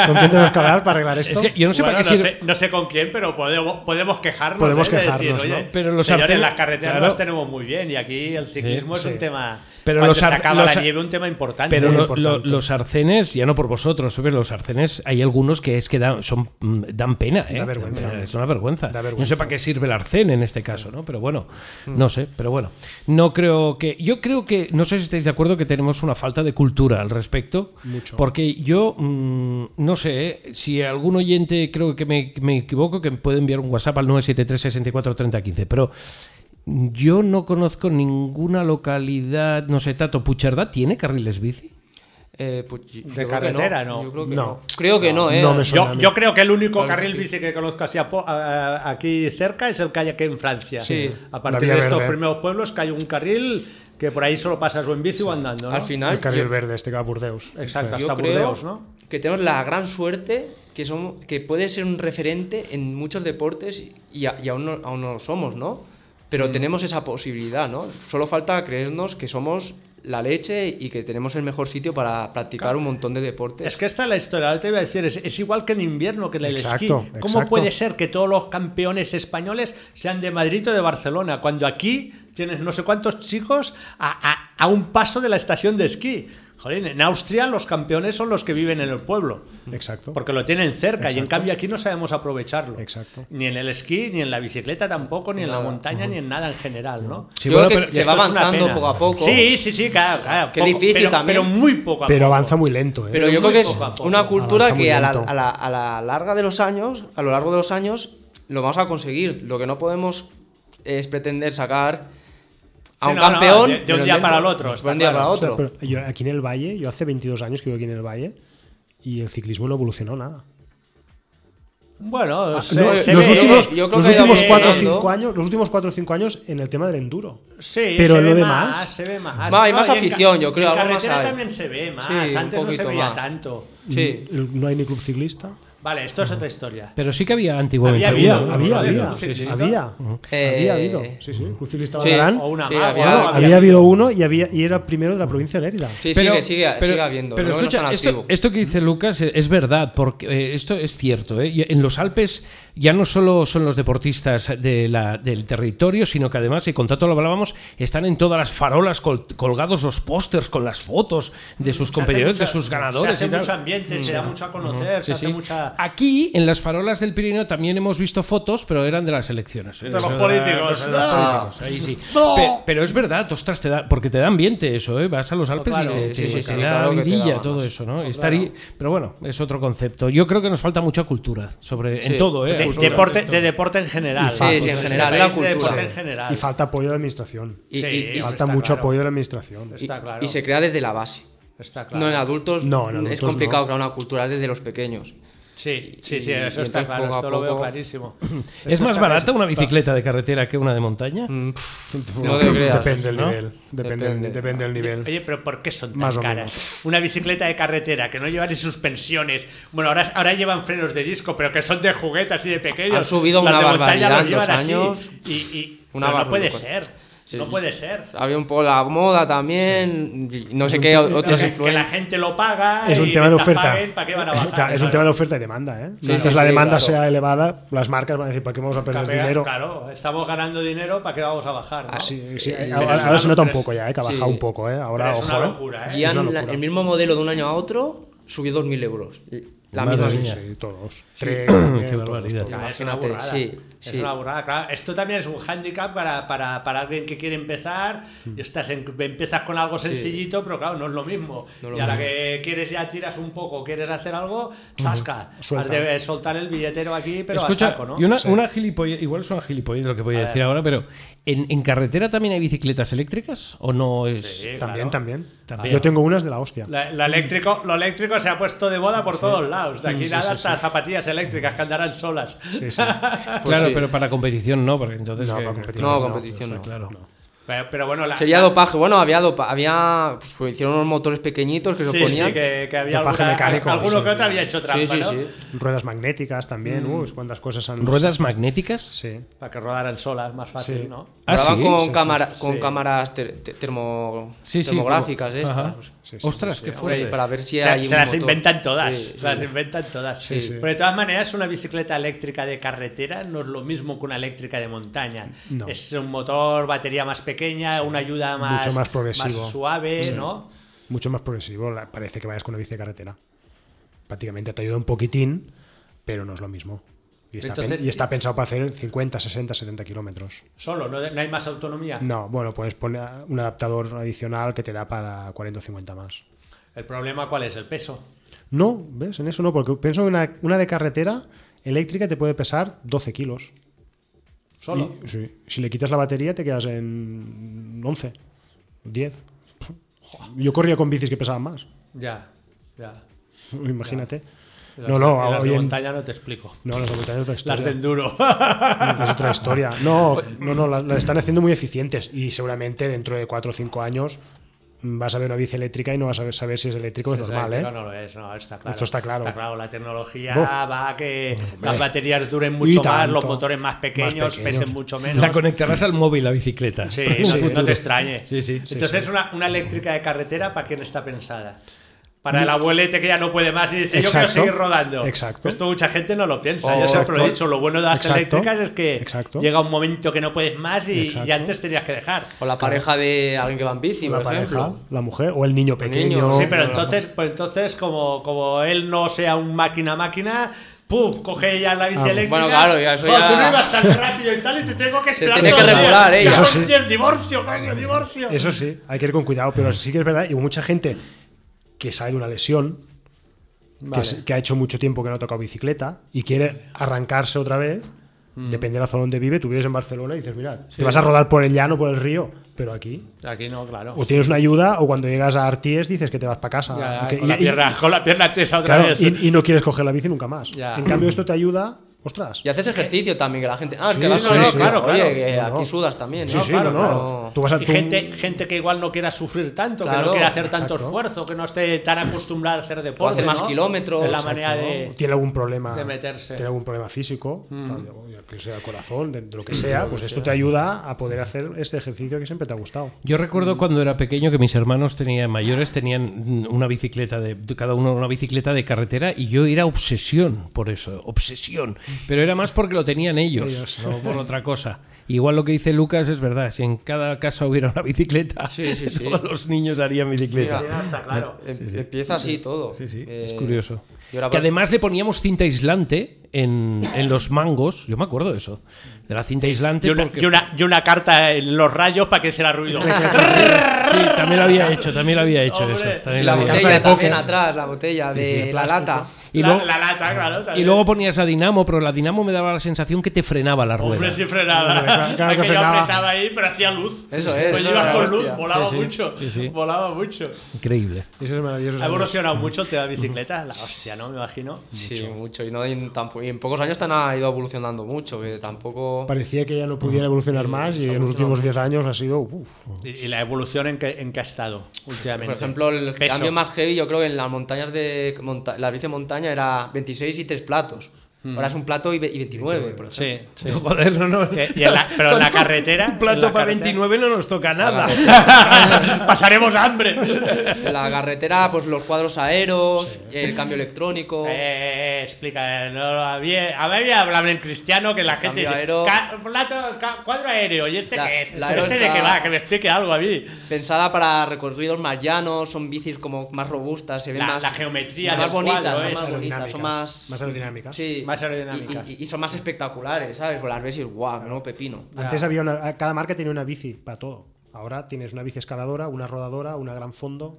E: ¿Con quién tenemos que hablar para arreglar esto?
C: Es que yo no sé
B: Bueno,
C: para qué sirve.
B: sé, no sé con quién, pero podemos, podemos quejarnos.
E: Podemos
B: ¿eh? De decir,
E: quejarnos,
B: oye,
E: ¿no?
C: Pero los
B: señores,
C: arcenes-
B: las carreteras
C: claro.
B: las tenemos muy bien y aquí el ciclismo
E: Sí,
B: es un
E: sí.
B: tema.
C: Pero
B: cuando
C: los
B: se
C: ar-
B: acaba
C: los
B: la
C: ar-
B: nieve, un tema importante.
C: Pero
E: Muy
C: lo-
E: importante.
C: lo- los arcenes, ya no por vosotros, pero los arcenes hay algunos que es que dan, son, mm, dan pena, ¿eh?
E: Da vergüenza.
C: Es una vergüenza.
E: Da vergüenza. Mm.
C: No sé para qué sirve el arcén en este caso, ¿no? Pero bueno, no sé, pero bueno. No creo que. Yo creo que. No sé si estáis de acuerdo que tenemos una falta de cultura al respecto.
E: Mucho.
C: Porque yo mm, no sé, eh, si algún oyente creo que me, me equivoco, que me puede enviar un WhatsApp al 973 64 30 15, pero. Yo no conozco ninguna localidad, no sé, Tato Puchardá tiene carriles bici.
D: Eh, pues, yo creo que
B: carretera, no.
D: Yo creo que
E: No.
D: no. Creo que no, ¿eh?
E: no me suena.
B: Yo, yo creo que el único
D: Claro,
B: carril
D: sí.
B: bici que conozco así a po- a- a- aquí cerca es el que hay aquí en Francia.
D: Sí.
B: A
E: La
B: partir
E: Vía
B: de estos
E: Verde.
B: primeros pueblos que hay un carril que por ahí solo pasas o en bici o andando. ¿no?
D: Al final.
E: El carril
D: yo-
E: verde, este que va a Burdeos.
B: Exacto,
D: yo
B: hasta
D: creo
B: Burdeos, ¿no?
D: que tenemos la gran suerte que somos que puede ser un referente en muchos deportes y, a- y aún, no, aún no lo somos, ¿no?
B: Mm.
D: Pero tenemos esa posibilidad, ¿no? Solo falta creernos que somos la leche y que tenemos el mejor sitio para practicar un montón de deportes.
B: Es que esta es la historia, ahora te iba a decir, es, es igual que en invierno, que en el esquí.
E: Exacto,
B: ¿Cómo
E: exacto.
B: puede ser que todos los campeones españoles sean de Madrid o de Barcelona, cuando aquí tienes no sé cuántos chicos a, a- a un paso de la estación de esquí? Joder, en Austria los campeones son los que viven en el pueblo.
E: Exacto.
B: Porque lo tienen cerca y en
E: Exacto.
B: cambio aquí no sabemos aprovecharlo.
E: Exacto.
B: Ni en el esquí, ni en la bicicleta tampoco, ni en la montaña, ni en nada en general, ¿no?
C: Sí,
D: Yo
C: bueno,
D: creo que
C: pero-
D: se
B: Esto
D: va
B: es una
D: avanzando
B: pena.
D: poco a poco.
B: Sí, sí, sí, claro, claro.
D: Qué difícil
B: pero,
D: también.
B: Pero muy poco a
E: Pero
B: poco.
E: avanza muy lento, ¿eh?
D: Pero yo
B: Muy
D: creo que es
B: poco a poco.
D: una cultura
E: Avanza muy
D: que a la,
E: lento.
D: a la- a la larga de los años, a lo largo de los años, lo vamos a conseguir. Lo que no podemos es pretender sacar a
B: Sí,
D: un
B: no, no,
D: campeón
B: de- de un día para el otro,
D: de
B: está
D: un día
B: claro.
D: para
E: O sea,
D: otro.
E: pero yo aquí en el Valle, yo hace 22 años que vivo aquí en el Valle y el ciclismo no evolucionó nada.
B: Bueno, se-
E: No,
B: se
E: los
B: ve- eh,
E: últimos,
D: yo creo
E: los
D: que ha ido
E: últimos cuatro o
D: evolucionando.
E: cinco años, los últimos 4 o 5 años en el tema del enduro.
B: Sí,
E: Pero
B: se
E: lo
B: ve
E: demás-
B: más, se ve más.
D: Va, hay más
B: y en ca-
D: afición, yo creo,
B: En
D: algo más
B: carretera
D: hay.
B: también se ve más.
D: Sí, un
B: Antes no se
D: poquito
B: veía
D: más.
B: tanto.
D: Sí.
E: El- No hay ni club ciclista.
B: Vale, esto es otra historia.
C: Pero sí que había antiguamente.
B: Había,
C: uno,
E: Había,
C: ¿no?
E: había, había.
B: club ciclista.
E: Había,
D: Eh,
E: había habido. Sí, sí, club ciclista
D: sí,
E: Badarán.
B: O una
D: Sí,
B: más, o
D: había-
B: algo
E: Bueno, había habido uno y, había, y era primero de la provincia de Lérida.
D: Sí, sigue, sigue, sigue habiendo.
C: pero
D: creo que no
C: escucha,
D: están
C: esto,
D: activos.
C: esto que dice Lucas eh, es verdad, porque eh, esto es cierto. ¿eh? Y En los Alpes ya no solo son los deportistas de la- del territorio, sino que además, y con tanto lo hablábamos, están en todas las farolas col- colgados los pósters con las fotos de sus
B: Se hace
C: competidores, de
B: mucha-
C: sus ganadores
B: Se hace
C: y tal.
B: mucho ambiente, se da mucho a conocer, se
C: Sí,
B: hace
C: sí.
B: mucha.
C: Aquí, en las farolas del Pirineo, también hemos visto fotos, pero eran de las elecciones.
B: De los políticos.
C: de los
B: ¡Ah!
C: políticos, ahí sí. Pe- pero es verdad, ostras, te da, porque te da ambiente eso, ¿eh? Vas a los Alpes
D: Claro,
C: y te,
D: sí,
C: te-
D: sí,
C: te
D: sí,
C: da
D: claro que te
C: vidilla
D: da ganas.
C: todo eso, ¿no? Estar ahí- pero bueno, es otro concepto. Yo creo que nos falta mucha cultura sobre, en
D: Sí.
C: todo, ¿eh?
B: De,
C: Cultura,
B: deporte,
C: en
B: de
C: todo.
B: deporte en general.
D: Sí, sí, en
B: Este
D: general,
B: país
D: la
B: de
D: cultura.
B: deporte en general.
E: Y falta apoyo de la administración.
D: Y-
B: Sí,
D: y- y-
B: eso
E: falta
B: está
E: mucho
B: claro.
E: apoyo de la administración.
D: y,
B: Está claro.
D: y se crea desde la base.
B: Está claro.
D: No en adultos,
E: No,
D: es
E: en adultos
D: complicado
E: no.
D: crear una cultura desde los pequeños.
B: Sí, sí,
D: y-
B: sí,
D: y
B: eso está
D: entonces
B: claro.
D: poco a
B: Esto lo veo
D: poco-
B: clarísimo.
C: ¿Es más barata una bicicleta de carretera que una de montaña?
D: Mm, pff, no te creas.
E: Depende del
C: ¿no?
E: nivel. Depende,
D: Depende.
E: depende del nivel.
B: Oye, pero ¿por qué son tan
E: Más o
B: caras? Una bicicleta de carretera que no lleva ni suspensiones. Bueno, ahora, ahora llevan frenos de disco, pero que son de juguete así de pequeños.
D: Han subido
B: Las
D: una
B: de montaña
D: barbaridad
B: los
D: en
B: llevan
D: dos
B: así.
D: años.
B: Y, y-
D: Una
B: pero no puede
D: barbaridad.
B: ser.
D: Sí.
B: No puede ser.
D: Había un poco la moda también, y no sé qué otras
B: que, que la
D: influencias.
B: gente lo paga.
E: es un
B: y
E: tema de
B: mientras
E: oferta.
B: paguen, ¿para qué van a bajar?
E: Claro, es un
B: Claro.
E: tema de oferta y demanda. ¿eh?
D: Sí,
E: Mientras
D: sí,
E: la
D: sí,
E: demanda
D: claro.
E: sea elevada, las marcas van a decir: ¿para qué vamos a perder
B: Capea-
E: dinero?
B: Claro, estamos ganando dinero, ¿para qué vamos a bajar? no?
D: Ah,
E: Sí, sí,
D: Eh,
E: ahora
B: pero es
E: ahora
B: una
E: se nota un
B: locura,
E: poco ya, eh, que ha
D: sí.
E: bajado un poco. Eh.
B: Pero
E: Ahora,
B: es una
E: ojo, eh.
B: locura, ¿eh?
E: es una
D: Guían la-
E: locura.
D: el mismo modelo de un año a otro, subió 2.000 euros. La
C: Madre
D: misma
C: mía.
D: bici.
E: Sí, todos. Tres,
C: Qué
E: todos,
C: barbaridad.
E: todos.
B: Ah, es una
D: Imagínate,
B: burrada.
D: sí,
B: Es
D: sí.
B: una burrada, claro. Esto también es un hándicap para, para, para alguien que quiere empezar.
D: Mm.
B: Y estás en- empiezas con algo sencillito, pero claro, no es lo mismo.
D: No es lo
B: y a la
D: mismo.
B: que quieres ya tiras un poco, quieres hacer algo, zasca.
E: Suelta.
B: Has de soltar el billetero aquí, pero
C: Escucha,
B: a saco, ¿no?
C: y una, una gilipollez, igual es una gilipollez lo que voy a, decir ahora, pero ¿en, en carretera también hay bicicletas eléctricas? ¿O no es...?
B: Sí,
E: También,
B: claro.
E: también.
C: También.
E: Yo tengo unas de la hostia.
B: La- la eléctrico, lo eléctrico se ha puesto de moda por todos lados. caos.
D: Mm,
B: De aquí nada hasta zapatillas eléctricas que andarán solas.
E: Sí, sí.
C: claro,
D: pues sí.
C: pero para competición no, porque entonces.
E: No,
C: que-
E: para competición.
D: No,
E: no,
D: competición no.
C: Claro.
B: Pero, pero bueno, la,
D: Sería
B: la-
D: dopaje. Bueno, había dopa- había pues, pues, hicieron unos motores pequeñitos que se
B: Sí,
D: ponían.
B: sí, que, que había
E: Dopaje
B: alguna-
E: mecánico,
B: alguno
E: sí,
B: que
E: sí.
B: otro había hecho trampa,
D: sí, sí,
B: ¿no?
D: sí.
E: Ruedas magnéticas también, uh, cuántas cosas han...
C: ¿Ruedas magnéticas?
E: Sí.
B: Para que rodaran solas, más fácil,
E: Sí.
B: ¿no?
C: Ah,
D: Grababan
C: sí.
D: con,
E: sí.
D: cámara- con
B: Sí.
D: cámaras ter- te- termo-
C: Sí, sí,
D: termográficas
C: como-
D: estas. pues,
C: Ajá.
E: sí, sí,
C: Ostras, qué
D: Hombre,
C: fuerte.
D: para ver si
B: Se,
D: hay
B: se
D: un
B: las
D: motor.
B: inventan todas,
D: Sí, sí.
B: se las inventan todas.
E: Sí, sí.
B: Pero de todas maneras, una bicicleta eléctrica de carretera no es lo mismo que una eléctrica de montaña.
E: No.
B: Es un motor, batería más pequeña, una ayuda más,
E: Mucho más progresivo.
B: más suave, ¿no?
E: Mucho más progresivo, la- parece que vayas con una bici de carretera. Prácticamente te ayuda un poquitín, pero no es lo mismo. Y está, pen-
B: Entonces-
E: y está pensado para hacer 50, 60, 70 kilómetros.
B: Solo, no, no hay más autonomía.
E: No, bueno, puedes poner un adaptador adicional que te da para 40 o 50 más.
B: El problema, ¿cuál es? El peso.
E: No, ¿ves? En eso no, porque pienso que una, una de carretera eléctrica te puede pesar 12 kilos.
B: Solo.
E: Y- sí, si le quitas la batería te quedas en 11, 10. Yo corría con bicis que pesaban más,
B: Ya, ya.
E: imagínate.
B: Las-
E: No, Pues no,
B: y las
E: hoy
B: de
E: en-
B: montaña no te explico.
E: No, las de montaña es otra
B: Las
E: historia.
B: de enduro.
E: Es otra historia. No, no, no, las, las están haciendo muy eficientes y seguramente dentro de 4 o 5 años vas a ver una bici eléctrica y no vas a saber si es eléctrico o es
B: Sí,
E: normal, ¿eh?
B: eléctrico No lo es, no, está claro.
E: Esto está claro.
B: La tecnología
E: Uf.
B: va a que las baterías duren mucho más,
E: tanto.
B: los motores más
E: Más
B: pequeños,
E: pequeños.
B: pesen mucho menos.
C: La conectarás al móvil, la bicicleta.
B: Sí,
C: Para
B: no,
C: un
B: no
C: futuro.
B: te extrañe.
C: Sí, sí. sí,
B: Entonces,
C: sí.
B: Una, una eléctrica de carretera, ¿para quién está pensada? Para el abuelete que ya no puede más y dice, yo
E: Exacto.
B: quiero seguir rodando.
E: Exacto.
B: Esto mucha gente no lo piensa.
E: Oh,
B: yo siempre lo he
E: exacto.
B: dicho, lo bueno de las
E: Exacto.
B: eléctricas es que
E: Exacto.
B: llega un momento que no puedes más y,
E: Exacto.
B: y antes tenías que dejar.
D: O la pareja de alguien que va en bici,
E: La
D: por
E: pareja,
D: ejemplo.
E: la mujer o el niño
D: El
E: pequeño.
D: niño, sí,
B: Sí, pero
D: No, no, no.
B: entonces, pues entonces como, como él no sea un máquina máquina, ¡puf! Coge ya la bici
E: Ah,
B: eléctrica.
D: bueno, claro, ya eso
B: "Oh,
D: ya-
B: Tú no ibas tan rápido y tal, y te tengo que esperar.
D: tiene
B: todo
D: que
B: el día".
D: regular, ¿eh?
B: Ya
E: Eso
B: con
E: sí.
B: diez, divorcio, coño, divorcio.
E: Eso sí, hay que ir con cuidado, pero sí que es verdad. Y mucha gente que sale de una lesión, que
B: Vale.
E: se- que, ha hecho mucho tiempo que no ha tocado bicicleta y quiere arrancarse otra vez,
B: Mm.
E: depende de la zona donde vive. Tú vives en Barcelona y dices, mira, te vas a rodar por el llano, por el río, pero aquí.
B: Aquí no, claro.
E: O tienes una ayuda, o cuando llegas a Arties dices que te vas para casa.
B: Ya,
E: que-
B: con, la pierna, con la pierna tesa otra
E: claro,
B: vez.
E: y, y no quieres coger la bici nunca más.
B: Ya.
E: En cambio, esto te ayuda, ostras.
D: Y haces ejercicio también, que la gente. Ah, es que
E: Sí,
D: vas
E: sí,
D: con-
E: sí,
D: claro,
E: claro,
D: Oye, que
E: no, no.
D: aquí sudas también,
E: sí,
D: ¿no?
E: sí,
D: Claro,
E: no, no.
D: claro.
E: Tú vas a
B: Y
E: tú-
B: gente, gente que igual no quiera sufrir tanto, que no
D: Claro,
B: quiera hacer tanto
E: exacto.
B: esfuerzo, que no esté tan acostumbrada a hacer deporte.
D: hacer más
B: ¿no?
D: kilómetros,
B: Es la
D: exacto.
B: manera de.
E: tiene algún problema
B: de meterse. Mm.
E: tiene algún problema físico tal, yo- yo que sea del corazón de, de lo que sea pues esto te ayuda a poder hacer este ejercicio que siempre te ha gustado
C: Yo recuerdo cuando era pequeño que mis hermanos tenían mayores tenían una bicicleta de de cada uno una bicicleta de carretera y yo era obsesión por eso, obsesión. Pero era más porque lo tenían ellos, no por otra cosa. Igual lo que dice Lucas es verdad, si en cada casa hubiera una bicicleta,
D: Sí, sí, sí.
C: todos los niños harían bicicleta.
D: Mira,
B: Está claro.
D: em- Empieza así todo.
C: Sí, sí,
D: Eh,
C: es curioso.
D: y ahora pues,
C: Que
D: vas-
C: además le poníamos cinta aislante en, en los mangos. Yo me acuerdo de eso. De la cinta aislante.
B: Y una,
C: porque-
B: y una- y una carta en los rayos para que hiciera ruido.
C: Sí, también lo había hecho, también lo había hecho
B: Hombre.
C: eso.
D: y
C: también lo
D: la
C: había hecho.
D: botella también atrás, la botella de la lata.
C: Y
B: la,
C: luego-
B: la lata, claro.
C: Y
B: también.
C: luego ponías a Dinamo, pero la Dinamo me daba la sensación que te frenaba la rueda.
B: Hombre, sí frenaba.
E: claro, claro que
B: Aquello
E: frenaba.
B: apretaba ahí, pero hacía luz.
D: Eso es,
B: Pues
D: eso
B: ibas
D: era
B: con
D: la
B: luz,
D: hostia.
B: volaba
C: Sí, sí,
B: mucho.
C: sí, sí.
B: Volaba mucho.
C: Increíble.
E: eso es maravilloso
B: Ha evolucionado mucho el tema de bicicleta. La hostia, ¿no? Me imagino.
D: Sí, mucho. Y, no, y, tampo- y en pocos años tan ha ido evolucionando mucho, que tampoco.
E: parecía que ya no pudiera evolucionar más y en los últimos 10 años ha sido uf,
B: Y, y la evolución en que, en que ha estado últimamente.
D: Por ejemplo, el
B: Peso.
D: cambio más heavy, yo creo que en las montañas de. monta- la bici de montaña era 26 y 3 platos.
B: Hmm.
D: Ahora es un plato y, ve- y 29, por ejemplo.
B: Sí, sí.
C: Joder, no, no.
B: Eh, y en la- pero en la carretera,
C: Un
B: en
C: plato
B: la
C: para
B: carretera.
C: 29 no nos toca nada.
B: Pasaremos hambre.
D: En la carretera, pues los cuadros aeros, el cambio electrónico.
B: Eh, eh, eh, explica, eh, no había, había hablado en cristiano que la gente
D: Cambio
B: dice,
D: aéreo.
B: "Ca- plato- ca- cuadro aéreo, ¿y este
D: La-
B: qué es?
D: la
B: ¿Pero
D: aero
B: este de qué
D: está-
B: va? Que me explique algo a mí.
D: Pensada para recorridos más llanos, son bicis como más robustas, se ven
B: La-
D: más.
B: la geometría
D: más
B: del
D: bonitas,
B: cuadro es
D: son más bonitas, son más.
E: más aerodinámicas
D: sí,
B: más aerodinámicas.
D: Y, y- y son más espectaculares, ¿sabes? Pues las ves y guau, no pepino.
E: antes había una, cada marca tenía una bici para todo ahora tienes una bici escaladora una rodadora una gran fondo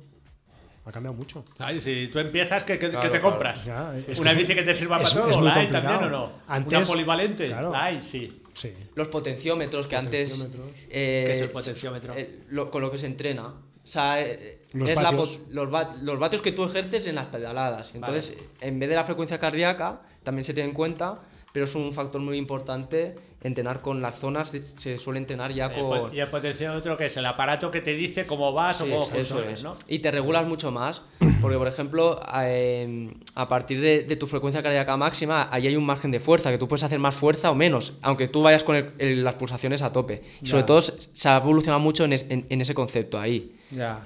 E: ha cambiado mucho
B: Ay, si tú empiezas, ¿qué, qué- qué
D: Claro,
B: te
D: claro.
B: compras?
E: Ya, es
B: ¿Una
E: que es-
B: bici que te sirva
E: es-
B: para todo?
E: es muy
B: ¿La hay
E: complicado.
B: también o no? ¿Una
E: Antes-
B: polivalente?
E: claro.
B: La hay, sí.
E: sí
D: Los potenciómetros que antes.
E: Potenciómetros.
D: eh,
B: ¿Qué es el potenciómetro?
D: eh, lo- con lo que se entrena. O sea, eh,
E: Los
D: es la
E: vatios.
D: pot- los, va- los vatios que tú ejerces en las pedaladas. Entonces, en vez de la frecuencia cardíaca, también se tiene en cuenta, pero es un factor muy importante entrenar con las zonas, se- se suele entrenar ya
B: El pot-
D: con...
B: Eh, pues, Y el potenciómetro que es el aparato que te dice cómo vas o
D: Sí,
B: cómo
D: es- eso
B: funcionas,
D: es.
B: ¿no?
D: Y te regulas mucho más, porque por ejemplo, a, em, a partir de, de tu frecuencia cardíaca máxima, ahí hay un margen de fuerza, que tú puedes hacer más fuerza o menos, aunque tú vayas con el- el- las pulsaciones a tope. Y Sobre todo se se ha evolucionado mucho en, es- en- en ese concepto ahí.
B: Ya.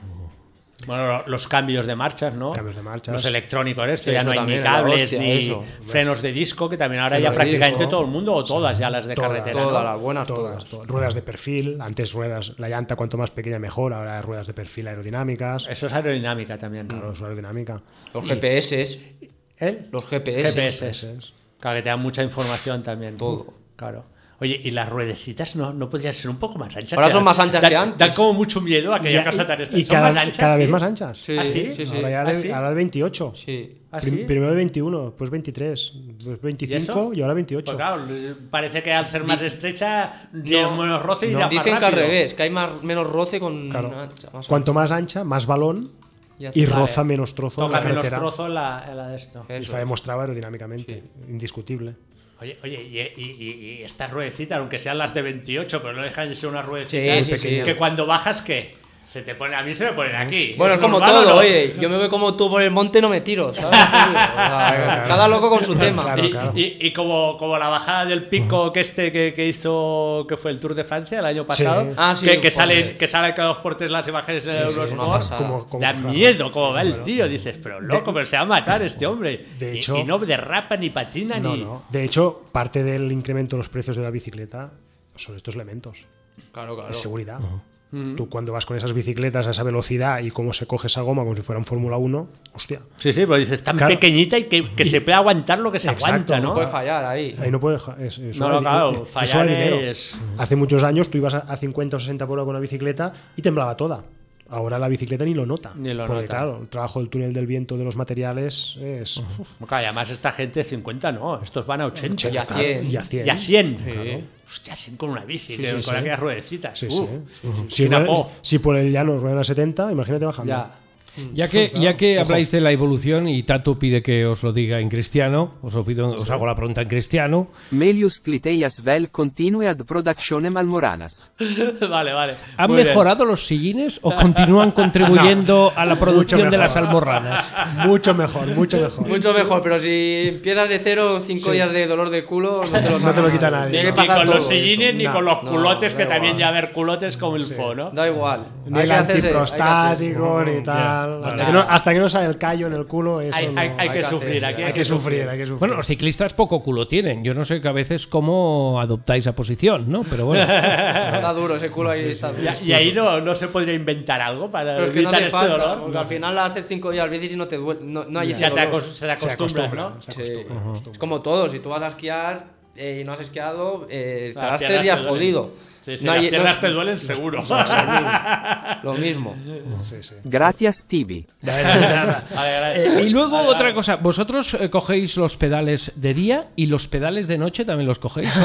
B: Bueno, lo- los cambios de marchas, ¿no?
E: Cambios de marchas.
B: Los electrónicos, esto
D: Sí,
B: ya
D: eso
B: no hay
D: también,
B: ni
D: la
B: cables
D: hostia,
B: ni
D: eso.
B: frenos de disco, que también ahora ya
D: Frenos de
B: prácticamente
D: disco.
B: todo el mundo o todas ya las de carretera. ¿no?
D: todas las buenas,
E: todas,
D: todas.
E: todas. Ruedas de perfil, antes ruedas, la llanta cuanto más pequeña mejor, ahora ruedas de perfil aerodinámicas,
B: Eso es aerodinámica también. ¿no?
E: claro, es aerodinámica.
D: Los GPS,
B: ¿Eh?
D: los GPS,
B: GPS. Claro, que te dan mucha información también.
D: Todo.
B: Claro. Oye, ¿y las ruedecitas no, no podrían ser un poco más anchas?
D: Ahora
B: Que
D: son
B: dan-
D: más anchas
B: dan-
D: que antes.
B: Dan como mucho miedo a aquella
E: Ya,
B: casa tan
E: y-
B: estrecha.
E: y
B: Son
E: cada,
B: más anchas,
E: cada vez
B: sí?
E: más anchas.
D: Sí,
B: ¿Ah, sí?
D: sí, sí.
E: Ahora ya
B: ¿Ah,
E: de,
B: sí?
E: ahora de 28.
D: Sí.
B: ¿Ah,
E: Prim-
B: sí?
E: Primero de pues 21, después 23, después 25
B: eso?
E: y, ahora 28.
B: Pues claro, parece que al ser más estrecha, tiene
D: No,
B: menos roce y
D: no.
B: ya más
D: Dicen que al
B: rápido.
D: revés, que hay más, menos roce con...
E: Claro.
D: una ancha, más
E: Cuanto
D: ancha.
E: más ancha, más balón
D: Y hace-
E: y
D: Vale.
E: roza menos trozo en
B: Toca
E: la
B: menos
E: carretera.
B: trozo en la, en la de esto.
E: Y
D: Eso
E: Está
D: es.
E: demostrado aerodinámicamente, indiscutible.
B: Oye, oye y, y- y- y estas ruedecitas, aunque sean las de 28, pero no dejan de ser unas
D: Sí,
B: ruedecitas
D: sí, sí.
B: que cuando bajas, ¿qué? Se te pone, a mí se me ponen aquí.
D: Bueno, es como
B: normal o
D: todo,
B: no?
D: oye. Yo me voy como tú por el monte y no me tiro, ¿sabes? O sea, Cada loco con su tema.
E: Claro,
B: Y,
E: claro.
B: y- y como, como la bajada del pico que este que, que hizo que fue el Tour de Francia el año pasado
D: Ah, sí,
B: que, que
D: joder.
B: salen que salen cada dos portes las imágenes de
D: sí,
B: los
D: una pasada.
E: Como- como-
B: da
E: claro.
B: miedo como va el tío dices pero loco pero se va a matar este hombre
E: De
B: Y-
E: hecho-
B: y, no derrapa ni patina
E: No,
B: ni
E: no. De hecho, parte del incremento de los precios de la bicicleta son estos elementos.
D: Claro, claro.
E: Es seguridad.
B: Mm.
E: Tú cuando vas con esas bicicletas a esa velocidad y cómo se coge esa goma como si fuera un Fórmula 1, hostia,
B: sí sí pero dices tan
E: Claro.
B: pequeñita y que, que se puede aguantar lo que se
E: Exacto,
B: aguanta no
E: no
D: Puede fallar ahí.
E: ahí no puede... ja- es- es
B: No,
E: hora
B: no,
E: de-
B: claro,
E: es hora de
B: fallar
E: dinero.
B: es-
E: Hace muchos años tú ibas a- a 50 o 60 por hora con una bicicleta y temblaba toda. Ahora la bicicleta ni lo nota.
B: Ni lo
E: porque
B: nota.
E: claro, el trabajo del túnel del viento de los materiales es...
B: Claro, y además esta gente 50 no estos van a 80
D: Y a 100.
E: Y a 100.
B: y a 100
D: Sí.
B: Hostia, 100 con una bici
E: Sí,
B: que-
E: sí,
B: con
E: sí.
B: aquellas ruedecitas
E: Sí,
B: Uh,
E: sí, sí, sí. Si,
B: Quina
E: ruedas-
B: por.
E: si por el llano ruedan a 70, imagínate bajando.
B: ya
C: Ya que, ya que habláis de la evolución y Tato pide que os lo diga en cristiano, os, lo pido, os hago la pregunta en cristiano.
J: Melius Cliteias vel continue ad productione malmoranas.
B: vale vale
C: ¿Han
B: Muy bien.
C: mejorado los sillines o continúan contribuyendo a la producción de
E: mejor.
C: las almorranas?
E: Mucho mejor, mucho mejor.
D: Mucho mejor, pero si empiezas de cero, cinco días de dolor de culo, no te lo,
E: No te lo
D: saca
E: quita nadie,
D: Tiene
E: ¿no?
D: que
B: Ni
D: pasar
B: con
D: todo
B: los sillines
D: eso.
B: ni con los
D: No,
B: culotes,
D: da
B: que también
D: igual.
B: ya haber culotes como el fo, ¿no?
D: Da igual.
E: Ni
D: Hay
E: el
D: que hacerse, hay que
E: antiprostático,
D: hacerse.
E: ni tal. Hasta
B: Nada.
E: que, no, hasta que no sale el callo en el culo, eso
B: Hay,
E: no-
B: hay- hay
D: hay
B: que
D: que
B: sufrir,
D: hacerse,
B: aquí
D: hay
B: hay
E: hay que sufrir, hay que sufrir.
C: Bueno, los ciclistas poco culo tienen. Yo no sé que a veces cómo adoptáis a posición, ¿no? Pero bueno.
D: Está duro ese culo ahí, está duro.
B: Y, y ahí no, no se podría inventar algo para
D: Pero es que no
B: evitar
D: hace
B: este
D: falta,
B: dolor.
D: porque al final haces cinco días bicis y no te duele, no, no hay
B: Y
D: ese
B: se te,
D: dolor.
B: acos- se te
E: se
B: acostumbras,
E: acostumbra,
B: ¿no?
E: se
D: Sí.
E: acostumbra, se acostumbra.
D: Es como todo, si tú vas a esquiar eh, y no has esquiado, eh,
B: O sea, las
D: estarás tres
B: piernas
D: días
B: te duelen.
D: jodido.
B: Sí, sí,
D: No
B: las
D: hay- no-
B: piernas te duelen seguro.
D: Lo mismo.
E: Sí, sí.
J: Gratias tibi.
B: Vale, vale.
C: Eh, y luego otra cosa, vosotros eh, cogéis los pedales de día y los pedales de noche también los cogéis.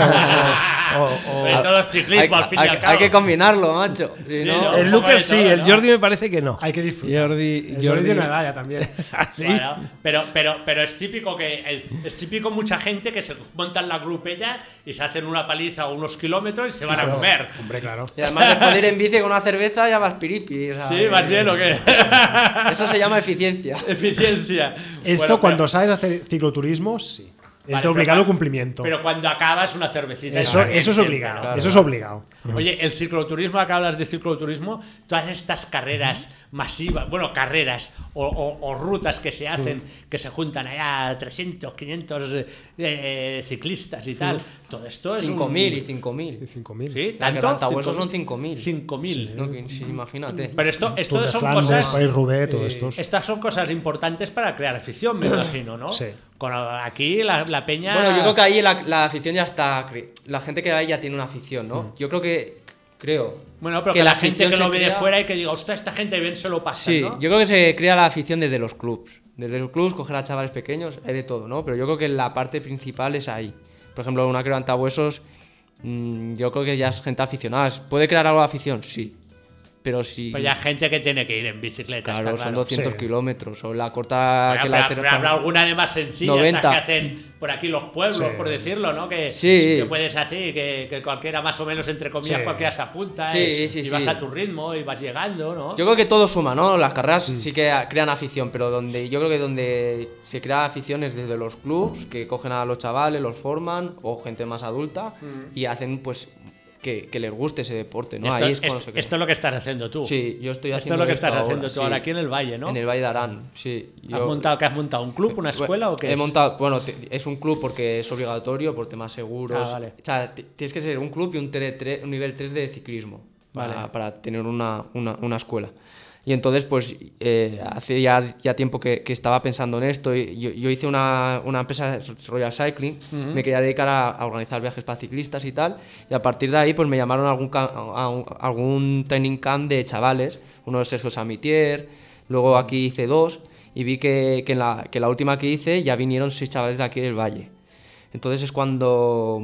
C: O- o- o-
B: Pero todo es
D: Hay,
B: ciclismo, al fin y
D: hay-
B: al
D: hay
B: cabo.
D: que combinarlo, macho. Si
B: Sí,
D: no-
B: ¿no?
C: el Lucas sí, el Jordi me parece que no.
E: Hay que disfrutar.
C: Jordi-
E: El
C: Jordi-
E: tiene una edad ya también.
C: Así.
B: Bueno, pero, pero, pero es típico que el- es típico mucha gente que se montan la grupella y se hacen una paliza o unos kilómetros y se van a comer.
E: Hombre, claro.
D: Y además después de ir en bici con una cerveza ya vas piripi. o sea,
B: Sí, más
D: eh,
B: bien o qué.
D: Eso se llama eficiencia.
B: Eficiencia.
E: Esto
B: Bueno,
E: cuando
B: pero-
E: sabes hacer cicloturismo, sí. es de
B: Vale,
E: obligado
B: pero-
E: cumplimiento.
B: Pero cuando acabas una cervecita.
E: eso,
B: y
E: eso es
B: siempre,
E: obligado.
B: ¿no?
E: Eso es obligado.
B: Oye, el cicloturismo, acá hablas de cicloturismo, todas estas carreras masivas, bueno, carreras o, o- o rutas que se hacen, que se juntan allá 300, 500 eh, eh, ciclistas y tal, todo esto es... un-
D: 5.000 y 5.000.
E: 5.000.
B: Sí,
D: La que
B: tanto.
D: Rantahuesos
B: Cinco-
D: son 5.000.
B: 5.000.
D: No, que- sí, imagínate.
B: Pero esto, esto
E: Tour de
B: son
E: Flandes,
B: cosas...
E: País-Roubaix, todo esto.
B: Estas son cosas importantes para crear afición, me imagino, ¿no?
E: Sí.
B: Con aquí la, la peña.
D: Bueno, yo creo que ahí la, la afición ya está. cre- La gente que va ahí ya tiene una afición, ¿no? Yo creo que. Creo.
B: Mm. Bueno, pero que, la, gente
D: afición
B: que
D: se
B: lo ve de
D: crea-
B: fuera y que diga, ostras, esta gente bien se lo pasa.
D: Sí,
B: ¿no?
D: yo creo que se crea la afición desde los clubs. Desde los clubs, coger a chavales pequeños, hay de todo, ¿no? Pero yo creo que la parte principal es ahí. Por ejemplo, una que levanta mm, huesos, yo creo que ya es gente aficionada. ¿Puede crear algo de afición? Sí. Pero si...
B: Pero hay gente que tiene que ir en bicicleta.
D: Claro,
B: Pues está
D: son
B: claro.
D: 200
B: Sí.
D: kilómetros. O la corta
B: Bueno,
D: que
B: pero-
D: la
B: pero
D: tercera-
B: habrá alguna de más sencilla
D: 90.
B: que hacen por aquí los pueblos,
D: Sí.
B: por decirlo, ¿no? Que,
D: Sí.
B: que puedes hacer, que, que cualquiera más o menos, entre comillas,
D: Sí.
B: cualquiera se apunta
D: Sí,
B: eh,
D: sí, sí,
B: y vas
D: sí.
B: a tu ritmo y vas llegando, ¿no?
D: Yo creo que todo suma, ¿no? Las carreras
B: Mm.
D: sí que crean afición, pero donde yo creo que donde se crea afición es desde los clubs, que cogen a los chavales, los forman, o gente más adulta,
B: Mm.
D: y hacen pues que, que les guste ese deporte, ¿no?
B: esto,
D: Ahí es cuando
B: es-
D: se crea.
B: esto es lo que estás haciendo tú.
D: Sí, yo estoy
B: Esto
D: haciendo
B: es lo que
D: esto
B: estás
D: ahora,
B: haciendo tú
D: sí.
B: ahora aquí en el Valle, ¿no?
D: En el Valle de Arán, sí.
B: ¿Has montado, que has montado? ¿Un club, una escuela o qué
D: He
B: es?
D: montado, bueno, te- es un club porque es obligatorio, por temas seguros.
B: Ah, vale.
D: O sea, ti- tienes que ser un club y un, tere- tre- un nivel 3 de ciclismo para,
B: Vale.
D: para tener una, una- una escuela. Y entonces, pues, eh, hace ya, ya tiempo que, que estaba pensando en esto. y Yo, yo hice una, una empresa, Royal Cycling,
B: Ujú.
D: me quería dedicar a, a organizar viajes para ciclistas y tal. Y a partir de ahí, pues, me llamaron a algún, ca- a un- a algún training camp de chavales. Uno de Sergio Samitier, luego aquí hice dos. Y vi que, que en la, que la última que hice ya vinieron seis chavales de aquí del Valle. Entonces es cuando,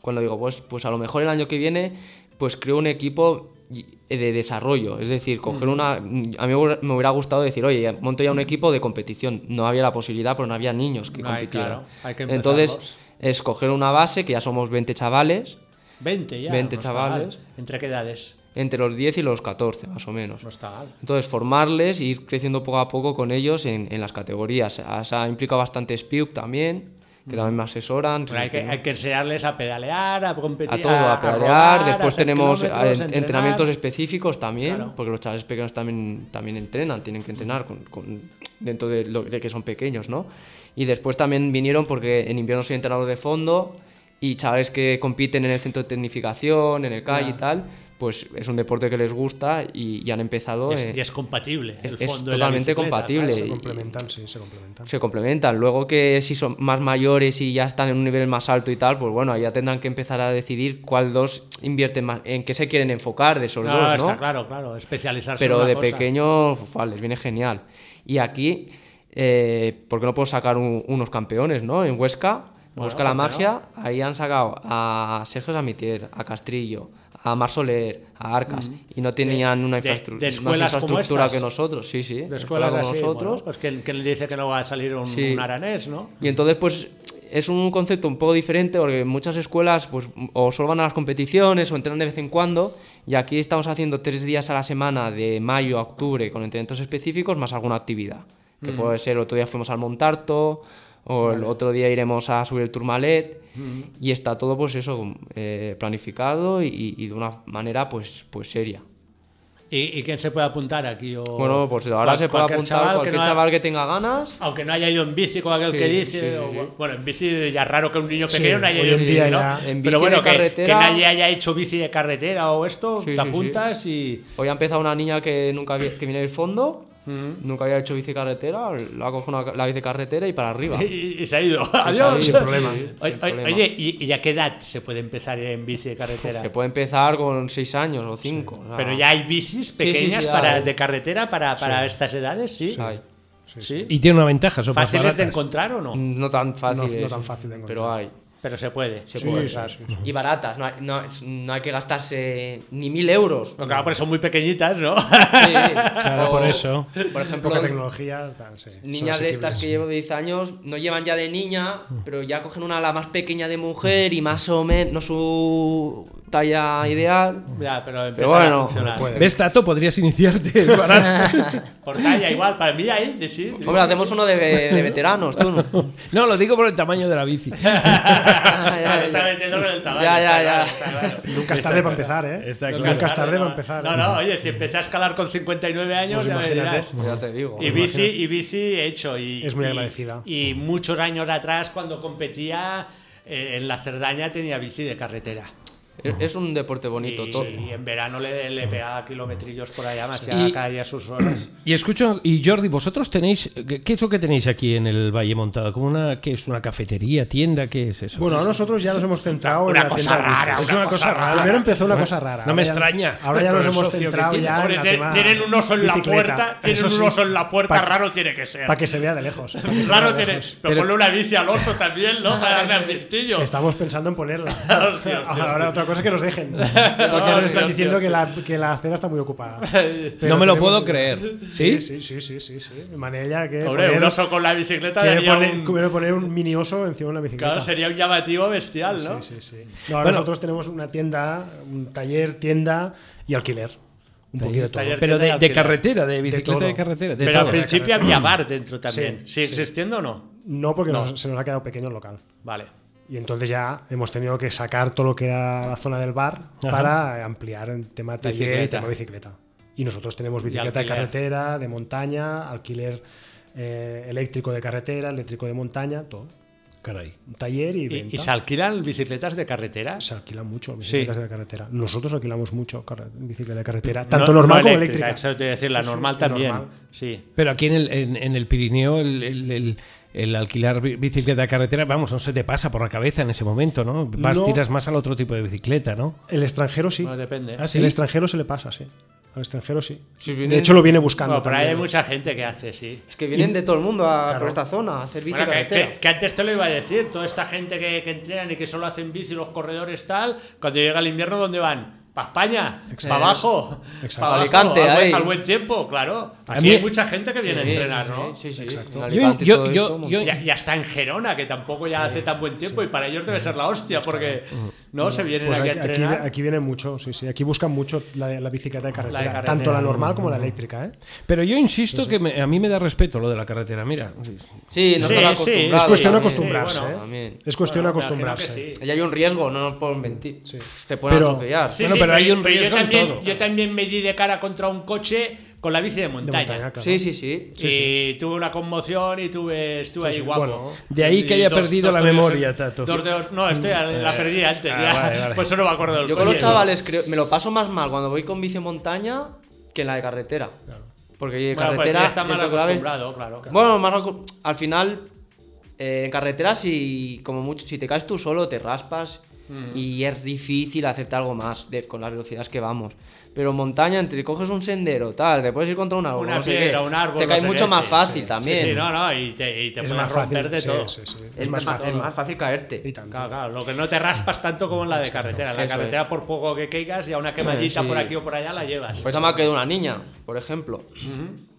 D: cuando digo, pues, pues a lo mejor el año que viene, pues creo un equipo y- eh, de desarrollo. Es decir, coger
B: Ujú.
D: una... A mí me hubiera- me hubiera gustado decir, oye, monto ya un equipo de competición. No había la posibilidad, pero no había niños que
B: No hay,
D: compitieran.
B: claro. Hay que empezarlos.
D: Entonces, escoger una base, que ya somos 20 chavales,
B: 20 ya.
D: 20
B: no está
D: chavales.
B: mal. ¿Entre qué edades?
D: entre los 10 y los 14, más o menos.
B: No está mal.
D: Entonces, formarles e ir creciendo poco a poco con ellos en, en las categorías. O sea, implica bastante SPUC también, que
B: Mm.
D: también me asesoran.
B: Pero hay, que,
D: ¿no?
B: hay que enseñarles a pedalear, a competir. Ah,
D: a todo, a, pedalear.
B: rodar, a
D: Después
B: hacer
D: tenemos eh,
B: kilómetros,
D: en-
B: entrenar.
D: entrenamientos específicos también,
B: Claro.
D: porque los chavales pequeños también, también entrenan, tienen que entrenar con- con- dentro de, lo, de que son pequeños, ¿no? Y después también vinieron porque en invierno soy entrenador de fondo y chavales que compiten en el centro de tecnificación, en el CAI y
B: Ya.
D: tal, pues es un deporte que les gusta y, y han empezado...
B: Y es,
D: eh,
B: y es compatible. El
D: es
B: fondo de la
D: totalmente
B: bicicleta,
D: compatible.
B: claro,
D: y-
B: eso
E: Complementan, sí, se complementan.
D: se complementan. Luego que si son más mayores y ya están en un nivel más alto y tal, pues bueno, ahí ya tendrán que empezar a decidir cuál dos invierten más, en qué se quieren enfocar de esos
B: No,
D: dos, ¿no?
B: está claro, claro. Especializarse en
D: Pero
B: una
D: de
B: cosa.
D: pequeño, uf, les viene genial. Y aquí, eh, ¿por qué no puedo sacar un- unos campeones, no? En Huesca, en
B: Bueno,
D: Huesca la
B: ¿por qué
D: Magia, ahí han sacado a Sergio Samitier, a Castrillo, a Mar Soler, a Arcas, y no tenían una
B: Mm. de-
D: infraestru-
B: de
D: más
B: escuelas como
D: infraestructura
B: estas.
D: que nosotros, sí, sí.
B: De escuelas
D: como
B: así,
D: nosotros.
B: bueno, pues que, que le dice que no va a salir un,
D: Sí.
B: un aranés, ¿no?
D: Y entonces, pues, es un concepto un poco diferente porque muchas escuelas, pues, o solo van a las competiciones o entrenan de vez en cuando. Y aquí estamos haciendo tres días a la semana de mayo a octubre con entrenamientos específicos más alguna actividad. Que
B: Mm.
D: puede ser, otro día fuimos al Montarto, o el otro día iremos a subir el Turmalet.
B: Mm.
D: Y está todo, pues, eso, eh, planificado y, y de una manera, pues, pues seria.
B: ¿Y, y quién se puede apuntar aquí? O
D: Bueno, pues ahora
B: cual-
D: se puede
B: cualquier
D: apuntar
B: chaval que
D: cualquier
B: no ha-
D: chaval que tenga ganas.
B: Aunque no haya ido en bici como aquel
D: Sí,
B: que dice.
D: sí, sí,
B: o-
D: sí.
B: Bueno, en bici ya es raro que un niño
E: Sí,
B: pequeño no haya
E: hoy
B: ido
E: en
B: en bici,
E: día
B: ¿no?
E: ya.
D: En bici
B: Pero bueno,
D: de
B: que,
D: carretera-
B: que nadie haya hecho bici de carretera o esto,
D: Sí,
B: te
D: sí, sí.
B: apuntas
D: Hoy ha empezado una niña que nunca había- que viene del fondo,
B: Ujú.
D: nunca había hecho bici carretera, la ha cogido una- la bici carretera y para arriba.
B: y, y- y se ha ido.
D: ha ido,
B: Adiós.
D: sin problema,
B: Oye,
D: sin problema.
B: Oye, ¿y, y a qué edad se puede empezar en bici de carretera?
D: Se puede empezar con 6 años o 5.
B: Pero ya hay bicis pequeñas para, de carretera para, para estas edades, sí. Sí.
C: Y tiene una ventaja, son más
B: ¿Fáciles de
C: baratas.
B: encontrar o no?
D: No tan fácil.
E: No- no tan fácil de encontrar.
D: Pero hay.
B: Pero se puede.
D: Se
E: Sí,
D: puede.
E: sí, sí, sí.
D: Y baratas, no hay, no- no hay que gastarse ni mil euros.
B: Pero claro, porque son muy pequeñitas, ¿no?
D: Sí.
C: Claro,
D: O,
E: Oh.
C: por eso.
D: Por ejemplo,
E: Poca tecnología, tal, sí. Son Mm.
D: Niñas de estas
E: asequibles.
D: que llevo 10 años no llevan ya de niña, pero ya cogen una la más pequeña de mujer y más o menos no su talla ideal.
E: Mm.
B: Ya, pero empiezan
D: bueno,
B: a funcionar.
E: puede.
C: ¿Ves, Tato? Podrías iniciarte. es barato.
B: Por talla, igual, para mí ahí, de sí.
D: Hombre, hacemos uno de, de veteranos, tú. ¿no?
C: no, lo digo por el tamaño de la bici.
D: Ah, ya,
B: Me está
D: ya.
B: metiendo con el tabaco,
D: Ya, ya,
B: está
D: ya.
B: claro, está claro.
E: Nunca es tarde para empezar, ¿eh?
C: Está
B: No,
C: claro.
E: Nunca es
B: claro,
E: tarde
B: no.
E: para empezar.
B: No, no, oye, si empecé a escalar con 59 años,
E: Pues
B: ya me
E: imagínate.
B: dirás.
D: Ya te digo.
B: Y bici, y bici he hecho. Y,
E: Es muy
B: y-
E: agradecida.
B: Y, muchos años atrás, cuando competía eh, en la Cerdaña, tenía bici de carretera.
D: Es- Es un deporte bonito,
B: y,
D: todo.
B: y en verano le, le pegaba kilometrillos por allá, más ya
C: Y-
B: caía sus horas.
C: Y escucho, y Jordi, vosotros tenéis. ¿Qué qué es lo que tenéis aquí en el Valle Montado? ¿Como una, ¿Qué es? ¿Una cafetería, tienda? ¿Qué es eso?
E: Bueno, ahora nosotros ya nos hemos centrado en
B: Una
E: la
B: cosa
E: tienda de bicis.
B: rara,
C: es una cosa rara.
E: Primero empezó una
C: Bueno,
E: cosa rara.
C: No me
E: ahora ya-
C: extraña.
E: Ahora ya
C: Por
E: nos
C: el
E: hemos
C: socio que
E: centrado
C: tiene.
E: ya
B: Hombre,
E: en el
B: te-
E: tema
B: tienen un oso en la
E: bicicleta.
B: puerta, tienen
E: Eso
B: un
E: sí.
B: oso en la puerta,
E: Pa-
B: raro tiene que ser.
E: Para que se vea de lejos. pa' que se vea
B: Claro,
E: de
B: tiene.
E: lejos.
B: Pero ponle una bici al oso también, ¿no? Para darle al
E: Estamos pensando en ponerla.
B: hostia, hostia,
E: Ahora otra otra cosa que nos dejen. Porque
B: No,
E: nos están
B: Dios,
E: diciendo
B: Dios,
E: que la, que la cena está muy ocupada.
C: No me lo
E: tenemos-
C: puedo creer. ¿Sí?
E: Sí, sí, sí, sí. sí. Manella que.
B: Pobre,
E: poner-
B: un oso con la bicicleta
E: quiere
B: daría
E: poner,
B: un-
E: quiere poner un mini oso encima de una bicicleta.
B: Claro, sería un llamativo bestial, ¿no?
E: Sí, sí, sí. No, ahora
C: Bueno.
E: nosotros tenemos una tienda, un taller, tienda y alquiler. Un poquito de todo.
B: taller,
C: Pero de,
B: tienda y
C: de
B: alquiler.
C: carretera, de
E: De
C: bicicleta de,
E: todo.
C: carretera. de
B: Pero al
C: todo.
B: principio había bar dentro también.
E: Sí,
B: ¿Sigue
E: sí.
B: existiendo o no?
E: No, porque
B: No.
E: nos- se nos ha quedado pequeño el local.
B: Vale.
E: Y entonces ya hemos tenido que sacar todo lo que era la zona del bar para ampliar el tema taller y
B: Bicicleta.
E: tema bicicleta. Y nosotros tenemos bicicleta de
B: alquiler.
E: carretera, de montaña, alquiler eh, eléctrico de carretera, eléctrico de montaña, todo.
C: Caray.
E: Un taller y, venta.
B: ¿Y, y se alquilan bicicletas de carretera?
E: Se alquilan mucho bicicletas de carretera. Nosotros alquilamos mucho carre- bicicleta de carretera,
B: No-
E: tanto
B: no
E: normal como eléctrica.
B: Eso te voy a decir, la
E: Sí, sí,
B: normal
E: y
B: también.
E: normal.
B: Sí.
C: Pero aquí en el, en, en el Pirineo, el, el- el- el alquilar bi- bicicleta de carretera, vamos, no se te pasa por la cabeza en ese momento, ¿no? Vas,
E: No.
C: tiras más al otro tipo de bicicleta, ¿no?
E: El extranjero sí.
B: Bueno, depende.
C: Ah, sí.
E: El extranjero se le pasa, sí. Al extranjero sí.
D: Si viene-
E: de hecho, lo viene buscando.
B: Bueno, pero
E: también.
B: hay mucha gente que hace, sí.
D: Es que vienen de todo el mundo a-
E: Claro.
D: por esta zona a hacer bici
B: Bueno, que,
D: carretera.
B: que- que antes te lo iba a decir, toda esta gente que, que entrenan y que solo hacen bici, los corredores tal, cuando llega el invierno, ¿dónde van? ¿Para España? ¿Para abajo?
E: Exacto.
B: Pa' abajo,
D: Alicante,
B: al, buen-
D: ahí.
B: al buen tiempo, claro.
C: A
B: Aquí
C: mí-
B: hay mucha gente que viene a entrenar,
D: sí,
B: ¿no?
D: Sí, sí.
E: Exacto.
D: En
C: Yo-
D: Alicante,
C: yo-
D: todo
C: yo-
D: esto, un
C: yo-
B: Y, y hasta en Gerona, que tampoco ya hace tan buen tiempo, y para ellos debe ser la hostia, porque no se vienen
E: Pues
B: aquí,
E: aquí,
B: a
E: aquí,
B: entrenar.
E: aquí viene mucho, sí, sí. Aquí buscan mucho la, la bicicleta de carretera,
B: carretera.
E: Tanto la normal como la eléctrica, ¿eh?
C: Pero yo insisto que me- a mí me da respeto lo de la carretera, mira.
D: Sí, no
B: Sí,
D: están
B: sí,
D: acostumbrados.
E: es cuestión de
D: también.
E: acostumbrarse,
B: sí, bueno,
E: ¿eh?
D: también.
E: Es cuestión de
B: Bueno, me imagino que
E: acostumbrarse.
B: sí.
D: Y hay un riesgo, no nos podemos mentir.
E: Sí.
D: Te pueden
E: Pero-
D: atropellar.
B: Sí,
C: Bueno,
B: sí,
C: pero hay un
B: yo
C: riesgo en
B: también,
C: todo.
B: Yo también me di de cara contra un coche con la bici de
E: De
B: montaña.
E: montaña, claro.
D: Sí, sí, sí.
B: y tuve una conmoción y tuve, estuve ahí guapo.
E: bueno.
C: De ahí que
B: Y
C: haya perdido la
B: dedos-
C: memoria, Tato.
B: Dos dedos, no, esto ya
D: Eh,
B: la perdí antes.
C: Ah,
B: ya.
C: vale, vale.
B: Por eso no me acuerdo del
D: Yo con los
B: coche.
D: chavales creo, me lo paso más mal cuando voy con bici en montaña que en la de carretera. Porque oye,
B: Bueno, pues
D: carretera
B: ya está mal
D: dentro de la vez-
B: acostumbrado, claro.
D: Bueno, más acu- al final eh, en carretera si como mucho si te caes tú solo te raspas
B: Mm.
D: y es difícil hacerte algo más de- con las velocidades que vamos. Pero en montaña entre coges un sendero, tal, te puedes ir contra un árbol,
B: Una
D: no sé
B: piedra,
D: qué,
B: un árbol.
D: te cae
B: no sé
D: mucho
B: qué,
D: más
B: sí,
D: fácil
B: sí.
D: también.
B: Sí, sí, no, no, y te, y te puedes romper de
E: sí,
B: todo.
E: sí, sí.
D: Es, más fácil, es más fácil caerte.
E: Y tanto.
B: Claro, claro, lo que no te raspas tanto como en la de carretera. En la
D: Eso
B: carretera, por poco que caigas, y a una quemadita
D: Sí.
B: por aquí o por allá la llevas.
D: Pues me ha quedado una niña, por ejemplo.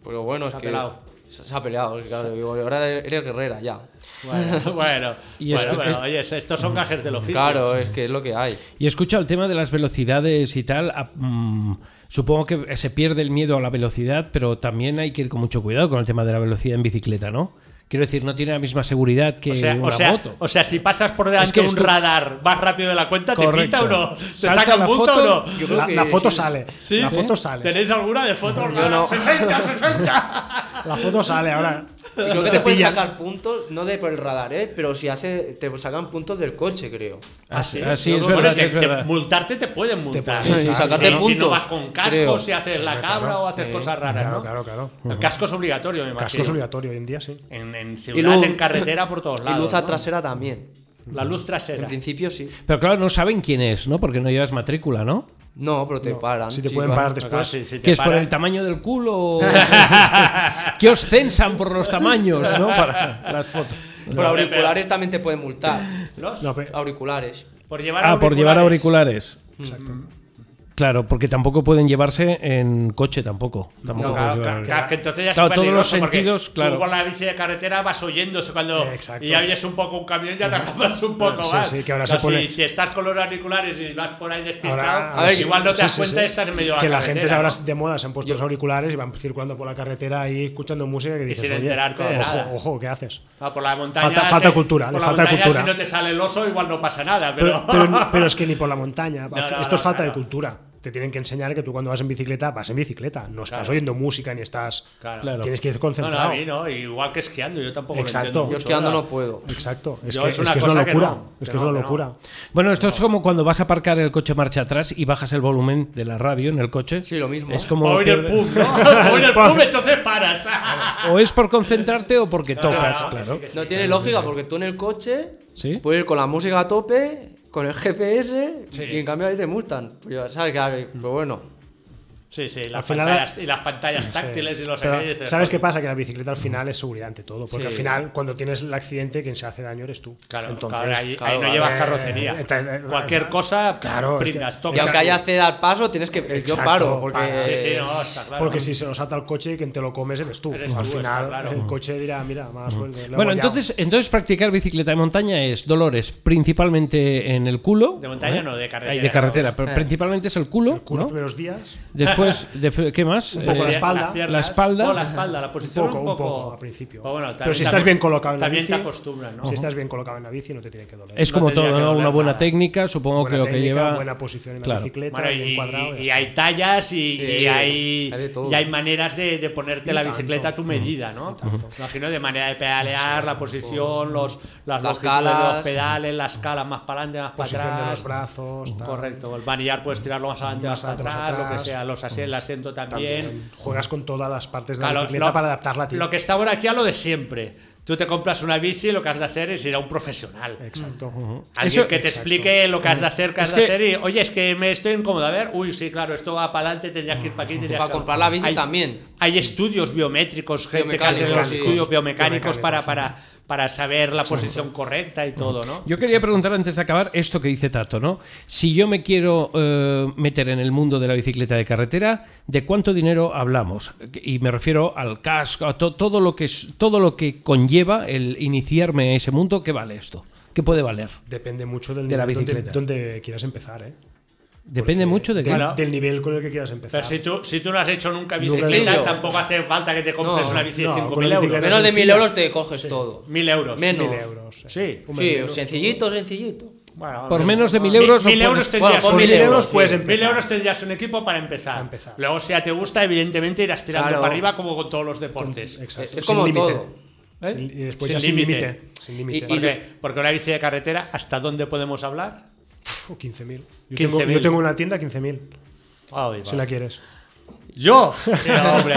D: Pero bueno,
B: Se
D: es
B: ha
D: que.
B: pelado.
D: Se se ha peleado, claro. digo, ahora eres guerrera, ya.
B: Bueno, bueno,
C: Y es
B: bueno,
C: que-
B: pero, oye, estos son gajes del oficio.
D: Claro, es que es lo que hay.
C: Y escucha el tema de las velocidades y tal. a- mm, supongo que se pierde el miedo a la velocidad, pero también hay que ir con mucho cuidado con el tema de la velocidad en bicicleta, ¿no? Quiero decir, no tiene la misma seguridad que
B: O sea,
C: Eh, una
B: o, sea,
C: moto.
B: o sea, si pasas por delante
C: Es que
B: de un
C: esto-
B: radar más rápido de la cuenta,
C: Correcto.
B: ¿te pita o no? ¿Te
C: Salta
B: saca
C: la
B: un punto
C: foto.
B: o no?
D: Yo creo
E: La,
D: que
E: la foto
D: sí.
E: sale.
B: ¿Sí?
E: La
B: ¿Sí?
E: fotos sale.
B: ¿Tenéis alguna de fotos?
D: Yo no.
B: 60, 60.
E: La foto sale ahora.
D: Y creo que te, pueden sacar puntos, no de por el radar, ¿eh? pero si hace, te sacan puntos del coche, creo.
C: así
B: sí?
C: así
D: Yo
C: es
D: creo-
B: Bueno,
C: verdad,
B: es que
C: es
B: te-
C: verdad.
B: multarte te pueden multar.
E: pueden
B: Sí,
E: multar,
D: sacarte
B: sí, Si no
D: puntos,
B: vas con casco,
D: creo.
B: si haces la cabra o haces
D: Sí.
B: cosas raras,
E: Claro,
B: ¿no?
E: claro, claro.
B: El casco es obligatorio, me imagino.
E: Casco es obligatorio hoy en día, sí.
B: En, en ciudad,
D: Y luz.
B: en carretera, por todos lados.
D: y luz
B: ¿no?
D: trasera también.
B: La luz trasera.
D: En principio sí.
C: Pero claro, no saben quién es, ¿no? Porque no llevas matrícula, ¿no?
D: No, pero te paran.
E: Si te
D: sí,
E: pueden
D: va.
E: parar
B: Claro, Ah,
E: después.
B: si- si te
C: Que es por
B: paran-
C: el tamaño del culo. que os censan por los tamaños, ¿no? Para las fotos.
D: Por auriculares también te pueden multar.
B: ¿Los?
E: No, pe-
D: Auriculares.
B: Por llevar
C: Ah, por llevar
B: auriculares.
C: auriculares. Claro, porque tampoco pueden llevarse en coche, tampoco. Tampoco
B: No, claro,
C: puedes llevar
B: claro,
C: auriculares.
B: claro, que entonces ya es
C: Claro, todos
B: peligroso
C: los
B: porque
C: sentidos,
B: tú
C: claro.
B: con la bici de carretera vas oyéndose cuando
E: Eh, exacto.
B: y ya oyes un poco un camión ya te arrapas un poco
E: Sí,
B: más.
E: sí, que ahora
B: Pero
E: se pone-
B: si, si estás con los auriculares y vas por ahí despistado, pues
E: Ahora,
D: a ver,
B: igual no te
E: sí,
B: das
E: sí,
B: cuenta
E: sí.
B: y estás en medio de la
E: Que la
B: carretera,
E: gente ahora
B: ¿no?
E: de moda se han puesto los auriculares y van circulando por la carretera ahí escuchando música que dices,
B: sin
E: "Oye,
B: enterarte de
E: ojo,
B: nada".
E: ojo, ¿qué haces?
B: Ah, por la montaña.
E: Falta- falta
B: te-
E: cultura,
B: por
E: le
B: la
E: falta
B: montaña,
E: cultura.
B: Si no te sale el oso, igual no pasa nada, pero.
E: Pero, pero- pero es que ni por la montaña.
B: No, no,
E: Esto
B: no,
E: es falta
B: claro.
E: de cultura. Te tienen que enseñar que tú cuando vas en bicicleta, vas en bicicleta. No estás oyendo música ni estás.
B: Claro.
E: Tienes que ir
B: no, no, a
E: concentrado.
B: mí no, igual que esquiando, yo tampoco
E: Exacto.
B: lo entiendo.
D: Yo
B: mucho,
D: esquiando
B: ¿verdad?
D: no puedo.
E: Exacto. Es,
B: Yo
E: que,
B: es
E: es,
B: una
E: que es una
B: cosa que
E: locura.
B: no,
E: es
B: que
E: que es
B: no,
E: una
B: que no.
E: locura.
C: Bueno, esto es como cuando vas a aparcar el coche marcha atrás y bajas el volumen de la radio en el coche.
D: Sí, lo mismo.
C: Es como
B: O ir al
C: pierde-
B: pub, ¿no? O ir al pub, entonces paras.
C: o es por concentrarte o porque tocas,
B: no,
C: claro.
D: No tiene lógica porque tú en el coche
C: Sí.
D: puedes ir con la música a tope, con el GPS
B: Sí.
D: y en cambio ahí te multan. Pues ya sabes que, pero pues bueno.
B: Sí, sí, las,
E: Al final-
B: pantallas, y las pantallas
E: Sí.
B: táctiles y los
E: Pero,
B: aquellos, dices,
E: ¿Sabes qué
B: "Joder".
E: pasa? Que la bicicleta al final es seguridad ante todo,
B: Sí.
E: porque al final cuando tienes el accidente quien se hace daño eres tú.
B: Claro,
E: Entonces,
B: claro, ahí, ahí
E: claro,
B: no llevas
E: eh,
B: carrocería.
E: esta- eh,
B: Cualquier
E: esa-
B: cosa,
E: Claro, es que-
B: brindas,
D: Y
B: tocas.
D: aunque haya eh, ceda al paso, tienes que. eh, yo
E: Exacto,
D: paro, porque.
E: para.
B: Sí, sí, no, está claro.
E: Porque si se nos ata el coche, quien te lo comes eres tú.
B: Eres
E: al
B: tú,
E: final
B: está claro.
E: el coche dirá, mira, más suerte. le he
C: Bueno,
E: guayado".
C: entonces, entonces practicar bicicleta de montaña es dolores principalmente en el culo.
B: De montaña no, de carretera.
C: Ay, de carretera, pero
D: Eh.
C: principalmente es el culo,
E: Con los
C: ¿no?
E: primeros días,
C: Después, de- ¿qué más?
E: poco
C: Eh,
E: la espalda.
B: Las piernas.
C: La espalda.
B: No, la espalda, la posición. Un
E: poco,
B: poco,
E: un poco, al principio.
B: Pero, bueno,
E: Pero
B: también-
E: si estás bien colocado en la
B: También
E: bici,
B: te acostumbras, ¿no?
E: si estás bien colocado en la bici, no te tiene que doler.
C: es
B: no
C: como
B: tendría
C: todo,
B: que
C: ¿no?
B: doler
C: Una buena
B: nada.
C: técnica, supongo
E: buena
C: que lo
E: técnica,
C: que lleva.
E: buena posición en la
C: Claro.
E: bicicleta,
B: Bueno,
E: bien
B: y,
E: cuadrado. ya
B: y
E: está.
B: hay tallas y, y
D: Sí,
B: hay,
D: hay de todo.
B: y hay maneras de, de ponerte
E: Y
B: la
E: tanto.
B: bicicleta a tu medida, ¿no? Imagino de manera de pedalear, la posición, los, las,
D: Las
B: longitudes de
D: calas.
B: los pedales, las calas más para adelante, más
E: posición
B: para
E: de
B: atrás.
E: los brazos, tal.
B: Correcto, el vanillar puedes tirarlo más adelante,
E: Más
B: más, para
E: adelante, más
B: atrás, lo
E: atrás.
B: que sea, los asi- el asiento también.
E: También juegas con todas las partes de
B: Claro,
E: la bicicleta para adaptarla a ti.
B: lo que está bueno aquí a lo de siempre. Tú te compras una bici y lo que has de hacer es ir a un profesional.
E: Exacto.
B: Alguien
C: Eso-
B: que te
E: Exacto.
B: explique lo que has de hacer, que has
C: Es
B: de
C: que-
B: hacer y, oye, es que me estoy incómodo. A ver, uy, sí, claro, esto va para adelante, tendrías que ir para aquí. tendrías
D: Para
B: que-
D: comprar la bici
B: Hay-
D: también.
B: Hay estudios biométricos, gente que hace los
D: Biomecánicos, sí.
B: estudios biomecánicos para,
E: Biomecánicos,
B: para, para saber la posición correcta y todo, ¿no?
C: Yo quería preguntar antes de acabar esto que dice Tato, ¿no? Si yo me quiero eh, meter en el mundo de la bicicleta de carretera, ¿de cuánto dinero hablamos? Y me refiero al casco, a to- todo lo que es- todo lo que conlleva el iniciarme a ese mundo, ¿qué vale esto? ¿Qué puede valer?
E: Depende mucho del
C: De la
E: nivel donde-
C: bicicleta.
E: Donde, quieras empezar, ¿eh?
C: Depende
E: Porque
C: mucho de qué.
E: del-
B: Claro.
E: del nivel con el que quieras empezar.
B: Pero si tú, si tú no has hecho nunca
E: Nunca he
B: bicicleta,
D: hecho.
B: tampoco hace falta que te compres
D: No,
B: una bici de
E: no,
B: 5.000
E: con la
B: euros.
E: bicicleta-
D: Menos de
E: sencilla.
D: mil euros te coges todo.
B: 1.000 euros.
D: Menos.
E: Mil euros. eh.
B: Sí.
E: Un
D: Sí,
E: mil euros.
D: sencillito, sencillito.
B: Bueno,
C: Por
B: no,
C: menos de
B: no,
C: 1.000
B: mil-
C: euros no
B: mil euros
C: puedes-
B: tendrías
D: Bueno,
E: Con
B: un-
E: mil euros
D: sí.
E: puedes
B: Mil
E: empezar.
B: euros tendrías un equipo para empezar.
E: Para empezar.
B: Luego, si ya te gusta, evidentemente irás tirando
D: Claro.
B: para arriba como con todos los deportes.
E: Exacto.
D: Es
E: sin
D: como
E: límite.
D: todo.
B: ¿Eh?
E: Sin- y después
B: Sin
E: ya sin
B: límite.
E: límite. Sin límite.
B: ¿Por qué? Porque una bici de carretera, ¿hasta dónde podemos hablar?
E: O 15.000. Yo,
B: 15.000.
E: tengo- yo tengo una tienda 15.000, si la quieres.
B: ¿Yo? Sí, no, hombre.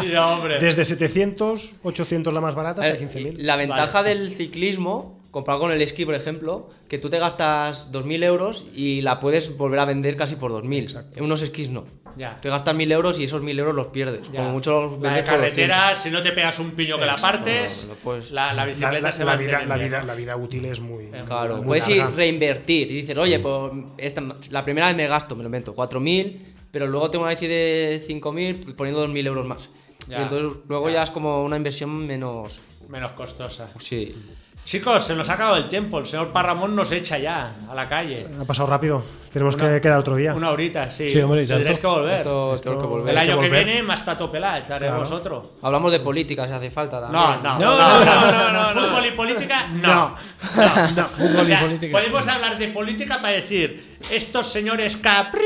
B: Sí, no, hombre.
E: Desde 700, 800 la más barata
D: A
E: hasta
D: ver,
E: 15.000.
D: Eh, La ventaja del ciclismo, comparado con el esquí, por ejemplo, que tú te gastas 2.000 euros y la puedes volver a vender casi por 2.000. En unos esquís no.
B: Ya.
D: Te gastas 1.000 euros y esos 1.000 euros los pierdes.
B: Ya.
D: Como mucho los
B: la de
D: vendes por
B: carretera, si no te pegas un piño que la partes,
D: No, no, pues-
B: la, la
E: La,
B: bicicleta
E: la-
B: se
E: la
B: va a
E: vida, la,
B: mantener
E: vida,
B: bien.
E: la vida útil es muy.
D: 200. Claro, Pues
E: muy
D: puedes ir
E: larga.
D: reinvertir y dices, oye, pues esta- la primera vez me gasto, me lo invento, 4.000, pero luego tengo una bici de 5.000 poniendo 2.000 euros más.
B: Ya.
D: Y entonces luego
B: Ya.
D: ya. es como una inversión menos...
B: Menos costosa.
D: Sí.
B: Chicos, se nos ha acabado el tiempo. El señor Parramón nos echa ya a la calle.
E: Ha pasado rápido. Tenemos
B: Una-
E: que quedar otro día.
B: Una horita, sí.
C: Sí, hombre, y tanto.
B: Tendréis que volver.
D: Esto, tengo que volver.
B: el año que
E: volver.
B: viene, más tato pelat, haremos
E: Claro.
B: otro.
D: Hablamos de política si hace falta también.
B: No, no, no,
C: No,
B: no,
C: no,
B: no, no, no. Fútbol y política, no. No,
C: fútbol
B: O sea,
C: y política.
B: Podemos hablar de política para decir estos señores capri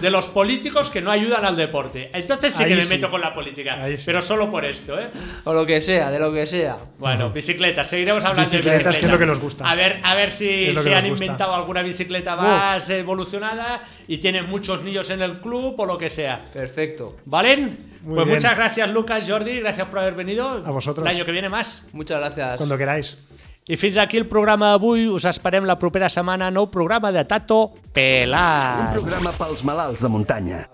B: de los políticos que no ayudan al deporte. Entonces sí que
E: Ahí
B: me
E: sí.
B: meto con la política,
E: Ahí sí.
B: pero solo por esto, ¿eh?
D: O lo que sea, de lo que sea.
B: Bueno, bicicletas, seguiremos hablando de
E: Bicicletas,
B: bicicletas.
E: que es lo que nos gusta.
B: A ver, a ver si,
E: Es lo
B: si
E: que nos
B: han
E: gusta.
B: inventado alguna bicicleta más evolucionada y tienen muchos niños en el club o lo que sea.
D: Perfecto.
B: ¿Valen?
E: Muy
B: pues
E: bien.
B: muchas gracias Lucas, Jordi, gracias por haber venido.
E: A vosotros.
B: El año que viene más.
D: Muchas gracias.
E: Cuando queráis.
B: I fins aquí el programa d'avui. Us esperem la propera setmana, nou programa de Tato
A: Un
B: Pelat.
A: programa pels malalts de muntanya,